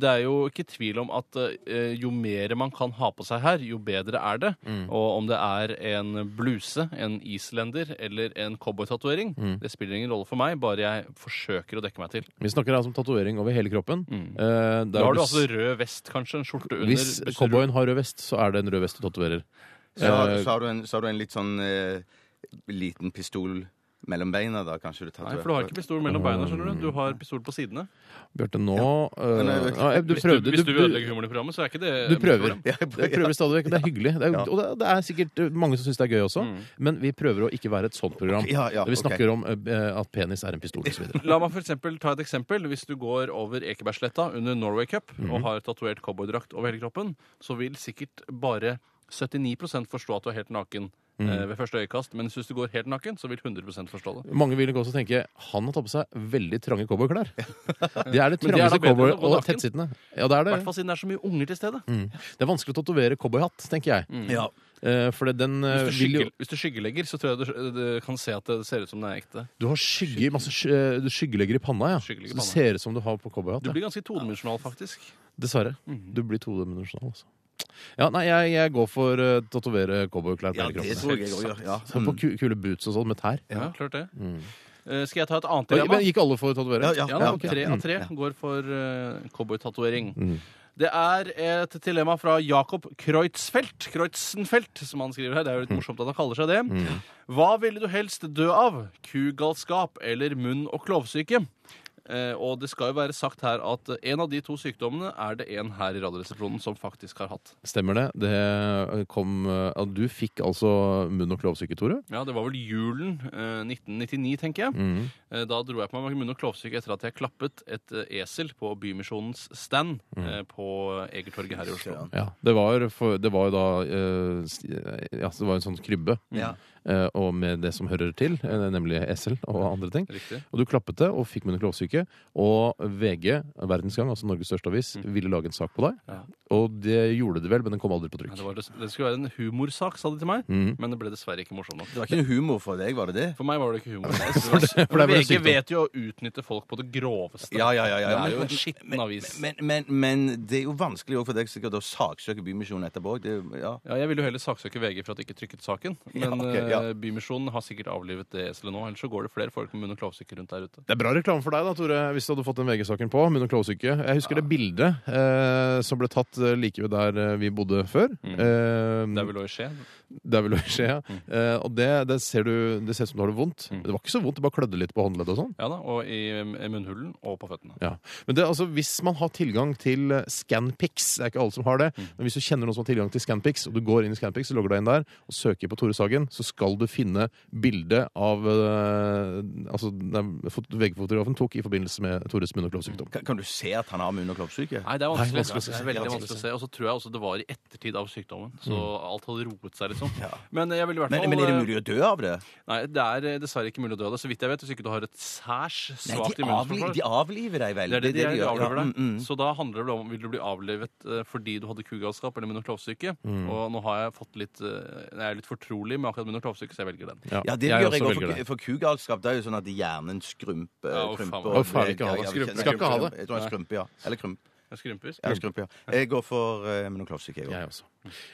Speaker 4: det er jo ikke tvil om at eh, jo mer man kan ha på seg her, jo bedre er det.
Speaker 2: Mm.
Speaker 4: Og om det er en bluse, en islender eller en cowboytatovering,
Speaker 2: Mm.
Speaker 4: det spiller ingen rolle for meg, bare jeg forsøker å dekke meg til.
Speaker 2: Vi snakker altså om tatovering over hele kroppen. Eh, der
Speaker 4: Da har du
Speaker 2: hvis-
Speaker 4: altså rød vest, kanskje, en skjorte under.
Speaker 2: Hvis
Speaker 4: busser-
Speaker 2: cowboyen har rød vest, så er det en rød vest du tatoverer.
Speaker 4: Eh,
Speaker 10: så, har- så, har du en, så har du en litt sånn eh, liten pistol mellom beina, da, kanskje du
Speaker 4: Nei, for du har ikke pistol mellom beina, skjønner du. Du har pistol på sidene.
Speaker 2: Bjarte, nå
Speaker 10: Men,
Speaker 2: eh,
Speaker 10: eh,
Speaker 2: ja, du
Speaker 4: Hvis du,
Speaker 2: prøvde,
Speaker 4: hvis du
Speaker 2: du-
Speaker 4: ødelegger humoren i programmet, så er ikke det
Speaker 2: Du prøver.
Speaker 4: problem.
Speaker 2: Jeg prøver stadig vekk. og Det er hyggelig. Det er, Og det, det er sikkert eh, mange som syns det er gøy også, men vi prøver å ikke være et sånt program.
Speaker 10: Ok, ja, ja,
Speaker 2: Der vi
Speaker 10: ok.
Speaker 2: snakker om eh, at penis er en pistol osv.
Speaker 4: La meg for eksempel ta et eksempel. Hvis du går over Ekebergsletta under Norway Cup
Speaker 2: Mhm.
Speaker 4: og har tatovert cowboydrakt over hele kroppen, så vil sikkert bare 79 forstå at du er helt naken
Speaker 2: Mhm.
Speaker 4: eh, ved første øyekast. Men hvis du går helt naken, så vil 100 forstå det.
Speaker 2: Mange vil nok også tenke han har tatt på seg veldig trange cowboyklær. Det er det
Speaker 4: Men det er da
Speaker 2: trangeste
Speaker 4: bedre
Speaker 2: cowboy
Speaker 4: enn å gå
Speaker 2: og
Speaker 4: naken.
Speaker 2: tettsittende. Ja, det er
Speaker 4: I
Speaker 2: det.
Speaker 4: hvert fall siden det er så mye unger til stede.
Speaker 2: Det er vanskelig å tatovere cowboyhatt, tenker jeg.
Speaker 10: Ja.
Speaker 2: Eh, for det- den eh,
Speaker 4: Hvis, du
Speaker 2: vil jo
Speaker 4: skygge, hvis du skyggelegger, så tror jeg du, du kan se at det ser ut som den er ekte.
Speaker 2: Du har skygge, masse sky, eh, du skyggelegger i panna, ja. Så det
Speaker 4: Skyggelegger i panna.
Speaker 2: ser ut som du har på cowboyhatt.
Speaker 4: Du
Speaker 2: ja.
Speaker 4: blir Mm. ganske todimensjonal, faktisk.
Speaker 2: Dessverre. Du blir todimensjonal, altså. Ja, nei, jeg, jeg går for å tatovere cowboyklær på
Speaker 10: Ja,
Speaker 2: hele kroppen.
Speaker 10: det tror jeg òg gjør. Ja.
Speaker 2: Så på ku kule boots og sånn med tær.
Speaker 4: Ja, klart det. Eh, skal jeg ta et annet
Speaker 2: Mm. Men
Speaker 4: dilemma?
Speaker 2: Gikk alle for å tatovere?
Speaker 10: Ja,
Speaker 4: Ja,
Speaker 10: ja, Mm.
Speaker 4: og tre av tre går for uh, cowboytatovering. Det er et dilemma fra Jacob Kreutzfeldt, Kreutzenfeldt, som han skriver her. Det er
Speaker 10: Mm.
Speaker 4: jo litt morsomt at han kaller seg det. Hva ville du helst dø av? Kugalskap eller munn- og klovsyke? Eh, og det skal jo være sagt her at en av de to sykdommene er det en her i Radioresepsjonen som faktisk har hatt.
Speaker 2: Stemmer det. det kom, eh, at du fikk altså munn- og klovsyke, Tore.
Speaker 4: Ja, det var vel julen eh, 1999, tenker jeg.
Speaker 2: Mhm.
Speaker 4: Eh, da dro jeg på meg munn- og klovsyke etter at jeg klappet et eh, esel på Bymisjonens stand
Speaker 2: Mhm.
Speaker 4: eh, på Egertorget her i Oslo.
Speaker 2: Ja, det var, for, det var jo da eh, s- ja, det var en sånn krybbe,
Speaker 4: Mm.
Speaker 2: eh, og med det som hører til, eh, nemlig esel og andre ting.
Speaker 4: Riktig.
Speaker 2: Og du klappet det og fikk munn- og klovsyke. Og VG, Verdensgang, altså Norges største avis, ville lage en sak på deg.
Speaker 4: Mm. Ja.
Speaker 2: Og det gjorde det vel, men den kom aldri på
Speaker 4: Ja,
Speaker 2: trykk.
Speaker 4: det, var, det skulle være en humorsak, sa de til meg,
Speaker 2: Mhm.
Speaker 4: men det ble dessverre ikke morsomt nok.
Speaker 10: Det var ikke noe humor for deg, var det det?
Speaker 4: For meg var det ikke humor.
Speaker 2: for det er vel sykdom.
Speaker 4: VG vet jo å utnytte folk på det groveste.
Speaker 10: Ja, ja, ja, ja, ja.
Speaker 4: Det er jo
Speaker 10: Men-
Speaker 4: en skitten avis.
Speaker 10: Men, men, men det er jo vanskelig også for deg sikkert å saksøke Bymisjonen etterpå. Det, er jo- ja.
Speaker 4: Ja, jeg ville jo heller saksøke VG for at de ikke trykket saken. Men
Speaker 10: ok, ja, Eh, Bymisjonen har sikkert avlivet det eselet nå, ellers så går det flere folk med munn- og klovsyke rundt der ute.
Speaker 2: Det er bra reklame for deg, da, Tore, hvis du hadde fått den VG-saken på. Munn- og klovsyke. Jeg husker det bildet eh, som ble tatt eh, like ved der eh, vi bodde før.
Speaker 10: Mm.
Speaker 2: Eh,
Speaker 10: Det er vel å skje.
Speaker 2: det er vel å skje, ja. Eh, og det, det, ser du, det ser ut som du har det vondt.
Speaker 10: Mm.
Speaker 2: Det var ikke så vondt, det bare klødde litt på håndleddet og sånn.
Speaker 10: Ja da, og i eh, munnhulen og på føttene.
Speaker 2: Ja. Men det, er altså, hvis man har tilgang til eh, Scanpix, det er ikke alle som har det,
Speaker 10: Mm.
Speaker 2: men hvis du kjenner noen som har tilgang til Scanpix, og du går inn i Scanpix, så logger du deg inn der og søker på Tore Sagen, så skal du finne bildet av eh, altså, den- fot- VG-fotografen tok i forbindelse med Tores munn- og klovsykdom.
Speaker 3: Kan, kan du se at han har munn- og klovsyke?
Speaker 10: Nei, det er vanskelig, å
Speaker 2: Nei,
Speaker 10: se.
Speaker 2: vanskelig å
Speaker 10: Det
Speaker 2: se.
Speaker 10: er veldig vanskelig å se. Og så tror jeg også det var i ettertid av sykdommen. Så alt hadde roet seg, liksom. Men jeg vil i hvert
Speaker 3: Men,
Speaker 10: fall
Speaker 3: men er det mulig å dø av det?
Speaker 10: Nei, det er eh, dessverre ikke mulig å dø av det. Så vidt jeg vet, hvis ikke du har et særs
Speaker 3: Nei,
Speaker 10: svakt
Speaker 3: de, avli,
Speaker 10: immunforsvar.
Speaker 3: de avliver deg vel?
Speaker 10: Det er det de gjør. De
Speaker 3: ja.
Speaker 10: avlever deg.
Speaker 3: Mm, mm.
Speaker 10: Så da handler det vel om vil du bli avlevet eh, fordi du hadde kugalskap eller munn- og klovsyke. Og nå har jeg fått litt eh, Jeg er litt fortrolig med akkurat munn- og klovsyke, så jeg velger den.
Speaker 3: Ja, det
Speaker 2: jeg
Speaker 3: gjør
Speaker 2: også
Speaker 3: jeg òg.
Speaker 2: velger
Speaker 3: For,
Speaker 2: det.
Speaker 3: for kugalskap det er jo sånn at hjernen skrumper.
Speaker 10: Ja, å, faen.
Speaker 3: krymper,
Speaker 10: Å,
Speaker 2: faen, ikke ha det.
Speaker 3: Ja, ja,
Speaker 2: Skrumper.
Speaker 3: jeg-
Speaker 2: Skal ikke ha det.
Speaker 3: Jeg tror han skrumper, ja. Eller krymp.
Speaker 10: Jeg skrumper.
Speaker 3: Ja, skrumper, ja. Jeg går for uh, monoklovsyke, jeg òg.
Speaker 2: Jeg også.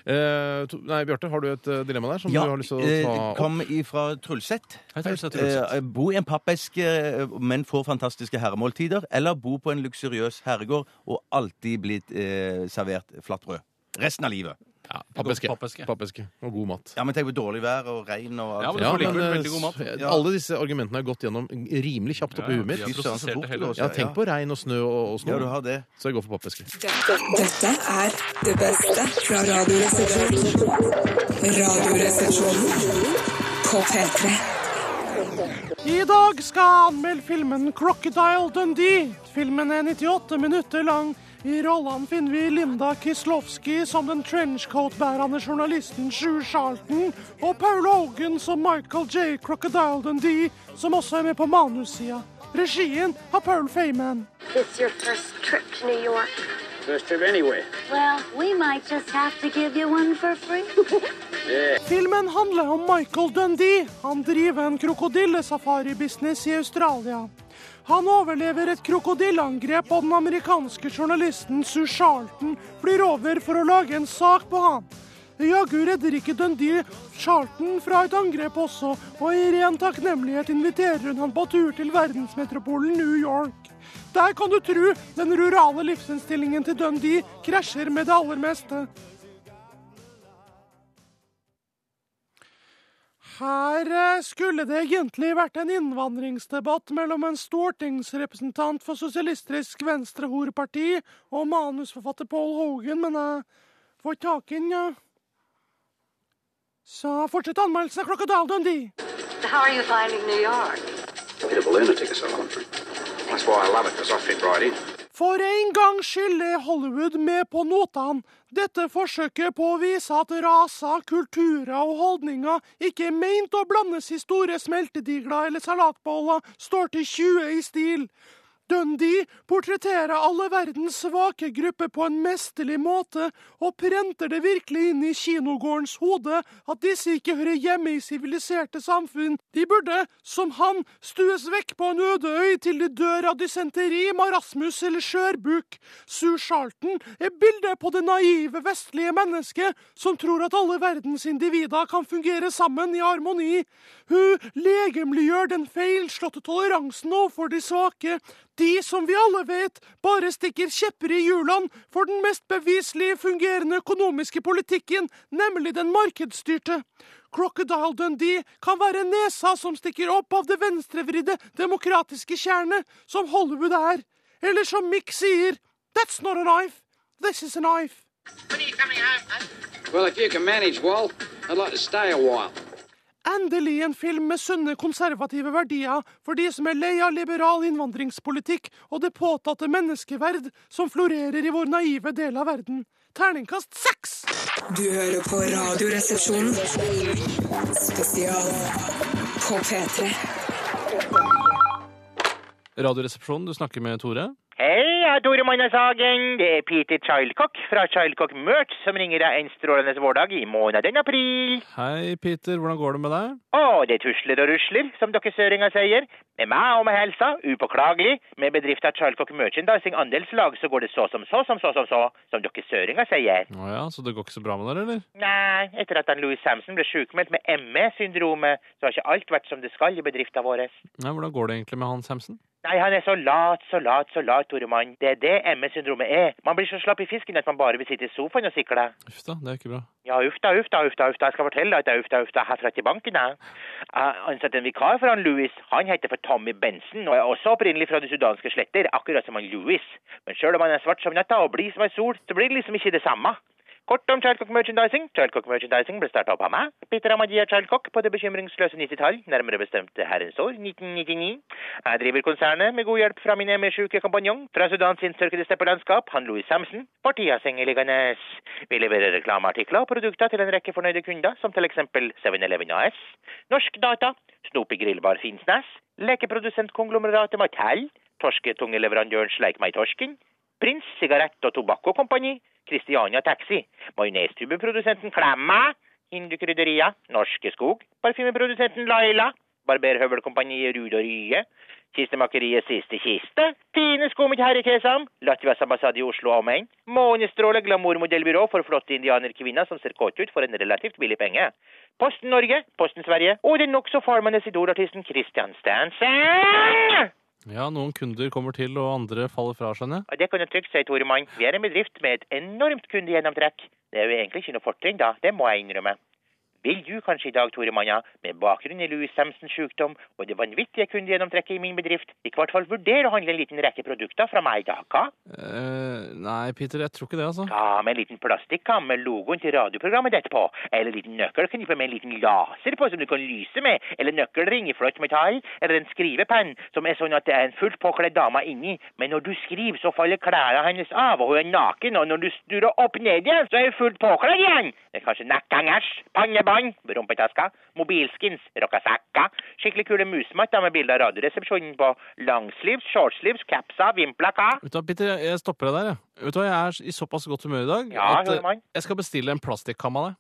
Speaker 2: Eh, to, nei, Bjarte, har du et eh, dilemma der som du har lyst til å ta
Speaker 3: eh,
Speaker 2: opp?
Speaker 3: kom ifra Trulset.
Speaker 10: Hei, Trulset, Trulset.
Speaker 3: Eh, bo i en pappeske, eh, men får fantastiske herremåltider. Eller bo på en luksuriøs herregård og alltid bli eh, servert flatbrød. Resten av livet.
Speaker 2: Ja, pappeske.
Speaker 10: Gå for pappeske.
Speaker 2: Pappeske. Og god mat.
Speaker 3: Ja, men tenk på dårlig vær og regn og alt.
Speaker 10: Ja, men du
Speaker 3: det
Speaker 10: får likevel
Speaker 2: eh,
Speaker 10: veldig god mat.
Speaker 2: s- Alle disse argumentene har gått gjennom rimelig kjapt opp i huet mitt.
Speaker 10: Ja,
Speaker 3: Fy søren, så
Speaker 10: prosesserte
Speaker 3: fort det
Speaker 10: heller.
Speaker 3: går.
Speaker 2: Ja, tenk på regn og snø og, og
Speaker 3: Ja, du
Speaker 2: snø,
Speaker 3: har det.
Speaker 2: så jeg går for pappeske.
Speaker 5: Dette, dette er det beste fra Radioresepsjonen. Radioresepsjonen på P3.
Speaker 10: I dag skal jeg anmelde filmen Crocodile Dundee. Filmen er 98 minutter lang. I rollene finner vi Linda Kislovski som den trenchcoat-bærende journalisten Sju Charlton, og Paul Hogan som Michael J. Crocodile Dundee, som også er med på manussida. Regien har Paul Feyman.
Speaker 11: It's your first trip to New York.
Speaker 12: First trip anyway.
Speaker 11: Well, we might just have to give you one for free.
Speaker 10: Filmen handler om Michael Dundee. Han driver en krokodillesafari-business i Australia. Han overlever et krokodilleangrep, og den amerikanske journalisten Sue Charlton flyr over for å lage en sak på han. Jaggu redder ikke Dundee Charlton fra et angrep også, og i ren takknemlighet inviterer hun han på tur til verdensmetropolen New York. Der kan du tru den rurale livsinnstillingen til Dundee krasjer med det aller meste. Her eh, skulle det egentlig vært en innvandringsdebatt mellom en stortingsrepresentant for Sosialistisk Venstrehorparti og manusforfatter Paul Hogan, men jeg får ikke tak i den, jeg. Så fortsett anmeldelsen av Crocodile Dundee.
Speaker 11: How are you finding New York?
Speaker 12: Peter Berlin will take us out on trip. That's why I love it, because I fit right in.
Speaker 10: For en gangs skyld er Hollywood med på notene. Dette forsøket på å vise at raser, kulturer og holdninger ikke er meint å blandes i store smeltedigler eller salatboller, står til 20 i stil. Dundee portretterer alle verdens svake grupper på en mesterlig måte, og prenter det virkelig inn i kinogårdens hode at disse ikke hører hjemme i siviliserte samfunn. De burde, som han, stues vekk på en øde øy til de dør av dysenteri, marasmus eller skjørbuk. Sue Charlton er bildet på det naive vestlige mennesket som tror at alle verdens individer kan fungere sammen i harmoni. Hun legemliggjør den feilslåtte toleransen overfor de svake, de som vi alle vet bare stikker kjepper i hjulene for den mest beviselig fungerende økonomiske politikken, nemlig den markedsstyrte. Crocodile Dundee kan være nesa som stikker opp av det venstrevridde demokratiske tjernet som Hollywood er. Eller som Mick sier, that's not a knife, this is a knife.
Speaker 12: Well, if you can manage, Walt, I'd like to stay a while.
Speaker 10: Endelig en film med sunne, konservative verdier for de som er lei av liberal innvandringspolitikk og det påtatte menneskeverd som florerer i vår naive del av verden. Terningkast seks!
Speaker 5: Du hører på Radioresepsjonen spesial på P3.
Speaker 10: Radioresepsjonen, du snakker med Tore.
Speaker 11: Hei, jeg er Tore Magna Sagen. Det er Peter Childcock fra Childcock Merch som ringer deg en strålende vårdag i måneden april.
Speaker 10: Hei, Peter, hvordan går det med deg?
Speaker 11: Å, det tusler og rusler, som dere søringer sier. Med meg og med helsa, upåklagelig. Med bedrifta Charlcock Merchandising andelslag så går det så som så som så som så, som dere søringer sier.
Speaker 4: Å ja, så det går ikke så bra med dere, eller?
Speaker 11: Nei, etter at han Louis Samson ble sjukmeldt med ME-syndromet, så har ikke alt vært som det skal i bedrifta vår.
Speaker 4: Nei, Hvordan går det egentlig med han Samson?
Speaker 11: Nei, han er så lat, så lat, så lat, Tore Mann. Det er det ME-syndromet er. Man blir så slapp i fisken at man bare vil sitte i sofaen og sikle.
Speaker 4: Uff da, det er ikke bra.
Speaker 11: Ja, uff da, uff da, uff da, uff da. Jeg skal fortelle deg at det er uff da, uff da herfra til banken, jeg. Jeg ansatte en vikar for han Louis. Han heter for Tommy Benson og er også opprinnelig fra de sudanske sletter, akkurat som han Louis. Men selv om han er svart som natta og blid som ei sol, så blir det liksom ikke det samme. Kort om Childcock Merchandising. Childcock Merchandising ble starta opp av meg, Peter Amadia Childcock, på det bekymringsløse 90-tall, nærmere bestemt herrens år, 1999. Jeg driver konsernet med god hjelp fra min ME-sjuke kompanjong fra Sudans innsørkede steppelandskap, han Louis Samson, partiet sengeliggende. Vi leverer reklameartikler og produkter til en rekke fornøyde kunder, som til eksempel 7-Eleven AS, Norsk Data, Snoopy Grillbar Finnsnes, lekeprodusentkonglomerate Mattel, torsketungeleverandøren Sleikmei Torsken, Prins Sigarett og Tobakk og Kompani, Christiania Taxi, majonestubeprodusenten Klemma, Hindukrydderier, Norske Skog, parfymeprodusenten Laila, Barberhøvelkompaniet Ruud og Rye, Kistemakeriet Siste Kiste, Tine Skomik Herrekesam, Latvias ambassade i Oslo og omegn, Månestråle glamourmodellbyrå for flotte indianerkvinner som ser kåte ut for en relativt billig penge, Posten Norge, Posten Sverige og den nokså farmende idolartisten Christian Stansen!
Speaker 4: Ja, noen kunder kommer til, og andre faller fra, skjønner jeg.
Speaker 11: Og Det kan du trygt si, Tore Mann. Vi er en bedrift med et enormt kundegjennomtrekk. Det er jo egentlig ikke noe fortrinn, da. Det må jeg innrømme. Vil du kanskje i dag, Tore Mann, ja, med bakgrunn i Louis Samsons sykdom og det vanvittige kundegjennomtrekket i min bedrift, i hvert fall vurdere å handle en liten rekke produkter fra meg i dag, hva?
Speaker 4: Eh, nei, Peter, jeg tror ikke det, altså.
Speaker 11: Hva med en liten plastikkam med logoen til radioprogrammet ditt på? Eller en liten nøkkelknippe med en liten laser på som du kan lyse med? Eller nøkkelring i flott metall? Eller en skrivepenn som er sånn at det er en fullt påkledd dame inni, men når du skriver, så faller klærne hennes av, og hun er naken, og når du sturer opp ned igjen, så er hun fullt påkledd igjen! Det er kanskje netthengers, pannebånd, rumpetaska, mobilskins, rockasakka, skikkelig kule musmatter med bilder av Radioresepsjonen på, langsleeves, shortsleeves, capser, vimplaka
Speaker 4: Vet du hva, Peter, jeg- jeg stopper deg der, jeg. Vet du hva, jeg er i såpass godt humør i dag
Speaker 11: Ja,
Speaker 4: at eh,
Speaker 11: Tormann.
Speaker 4: jeg skal bestille en plastikkam av deg.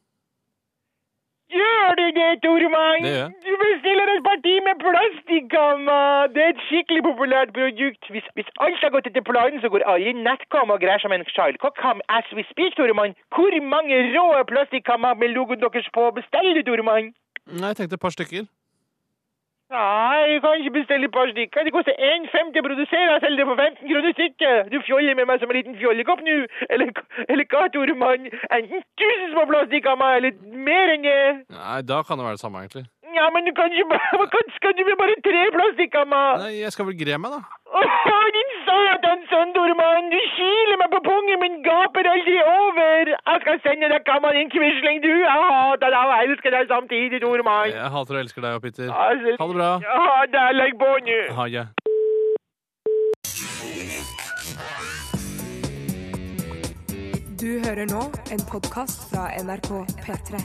Speaker 11: Gjør du det, Tormann?
Speaker 4: Det gjør jeg.
Speaker 11: Du bestiller et parti med plastikkamma. Det er et skikkelig populært produkt. Hvis, hvis alt har gått etter planen, så går alle nettkamma og greier som en sjalkokkam as we speak, Tormann. Hvor mange rå plastikkammer med logoen deres på bestiller du, Tormann?
Speaker 4: Nei, jeg tenkte et par stykker.
Speaker 11: Nei, jeg kan ikke bestille et par stykker. Det koster 1,50 å produsere. Jeg selger det for 15 kroner stykket. Du fjoller med meg som en liten fjollekopp nå. Eller, eller hva, Tormann? Enten tusen små plastikkammer, eller mer enn det.
Speaker 4: Nei, da kan det være det samme, egentlig.
Speaker 11: Ja, men du kan ikke bare Hva kan- Skal du med bare tre plastikkammer?
Speaker 4: Nei, jeg skal vel gre meg, da.
Speaker 11: Åh, din satans søndormann! Du kiler meg på pungen, men gaper aldri over! Jeg skal sende deg kammeren din, quisling, du! Jeg hater deg og elsker deg samtidig, Dormann!
Speaker 4: Jeg hater og elsker deg og Peter. Ha
Speaker 11: Altså,
Speaker 4: det bra.
Speaker 11: Ja, det er legg på nå!
Speaker 4: Ha det.
Speaker 1: Du hører nå en podkast fra NRK P3.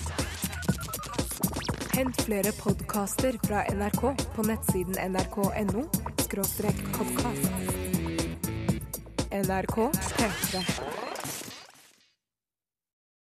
Speaker 1: Hent flere podkaster fra NRK på nettsiden nrk.no podkast. NRK P3.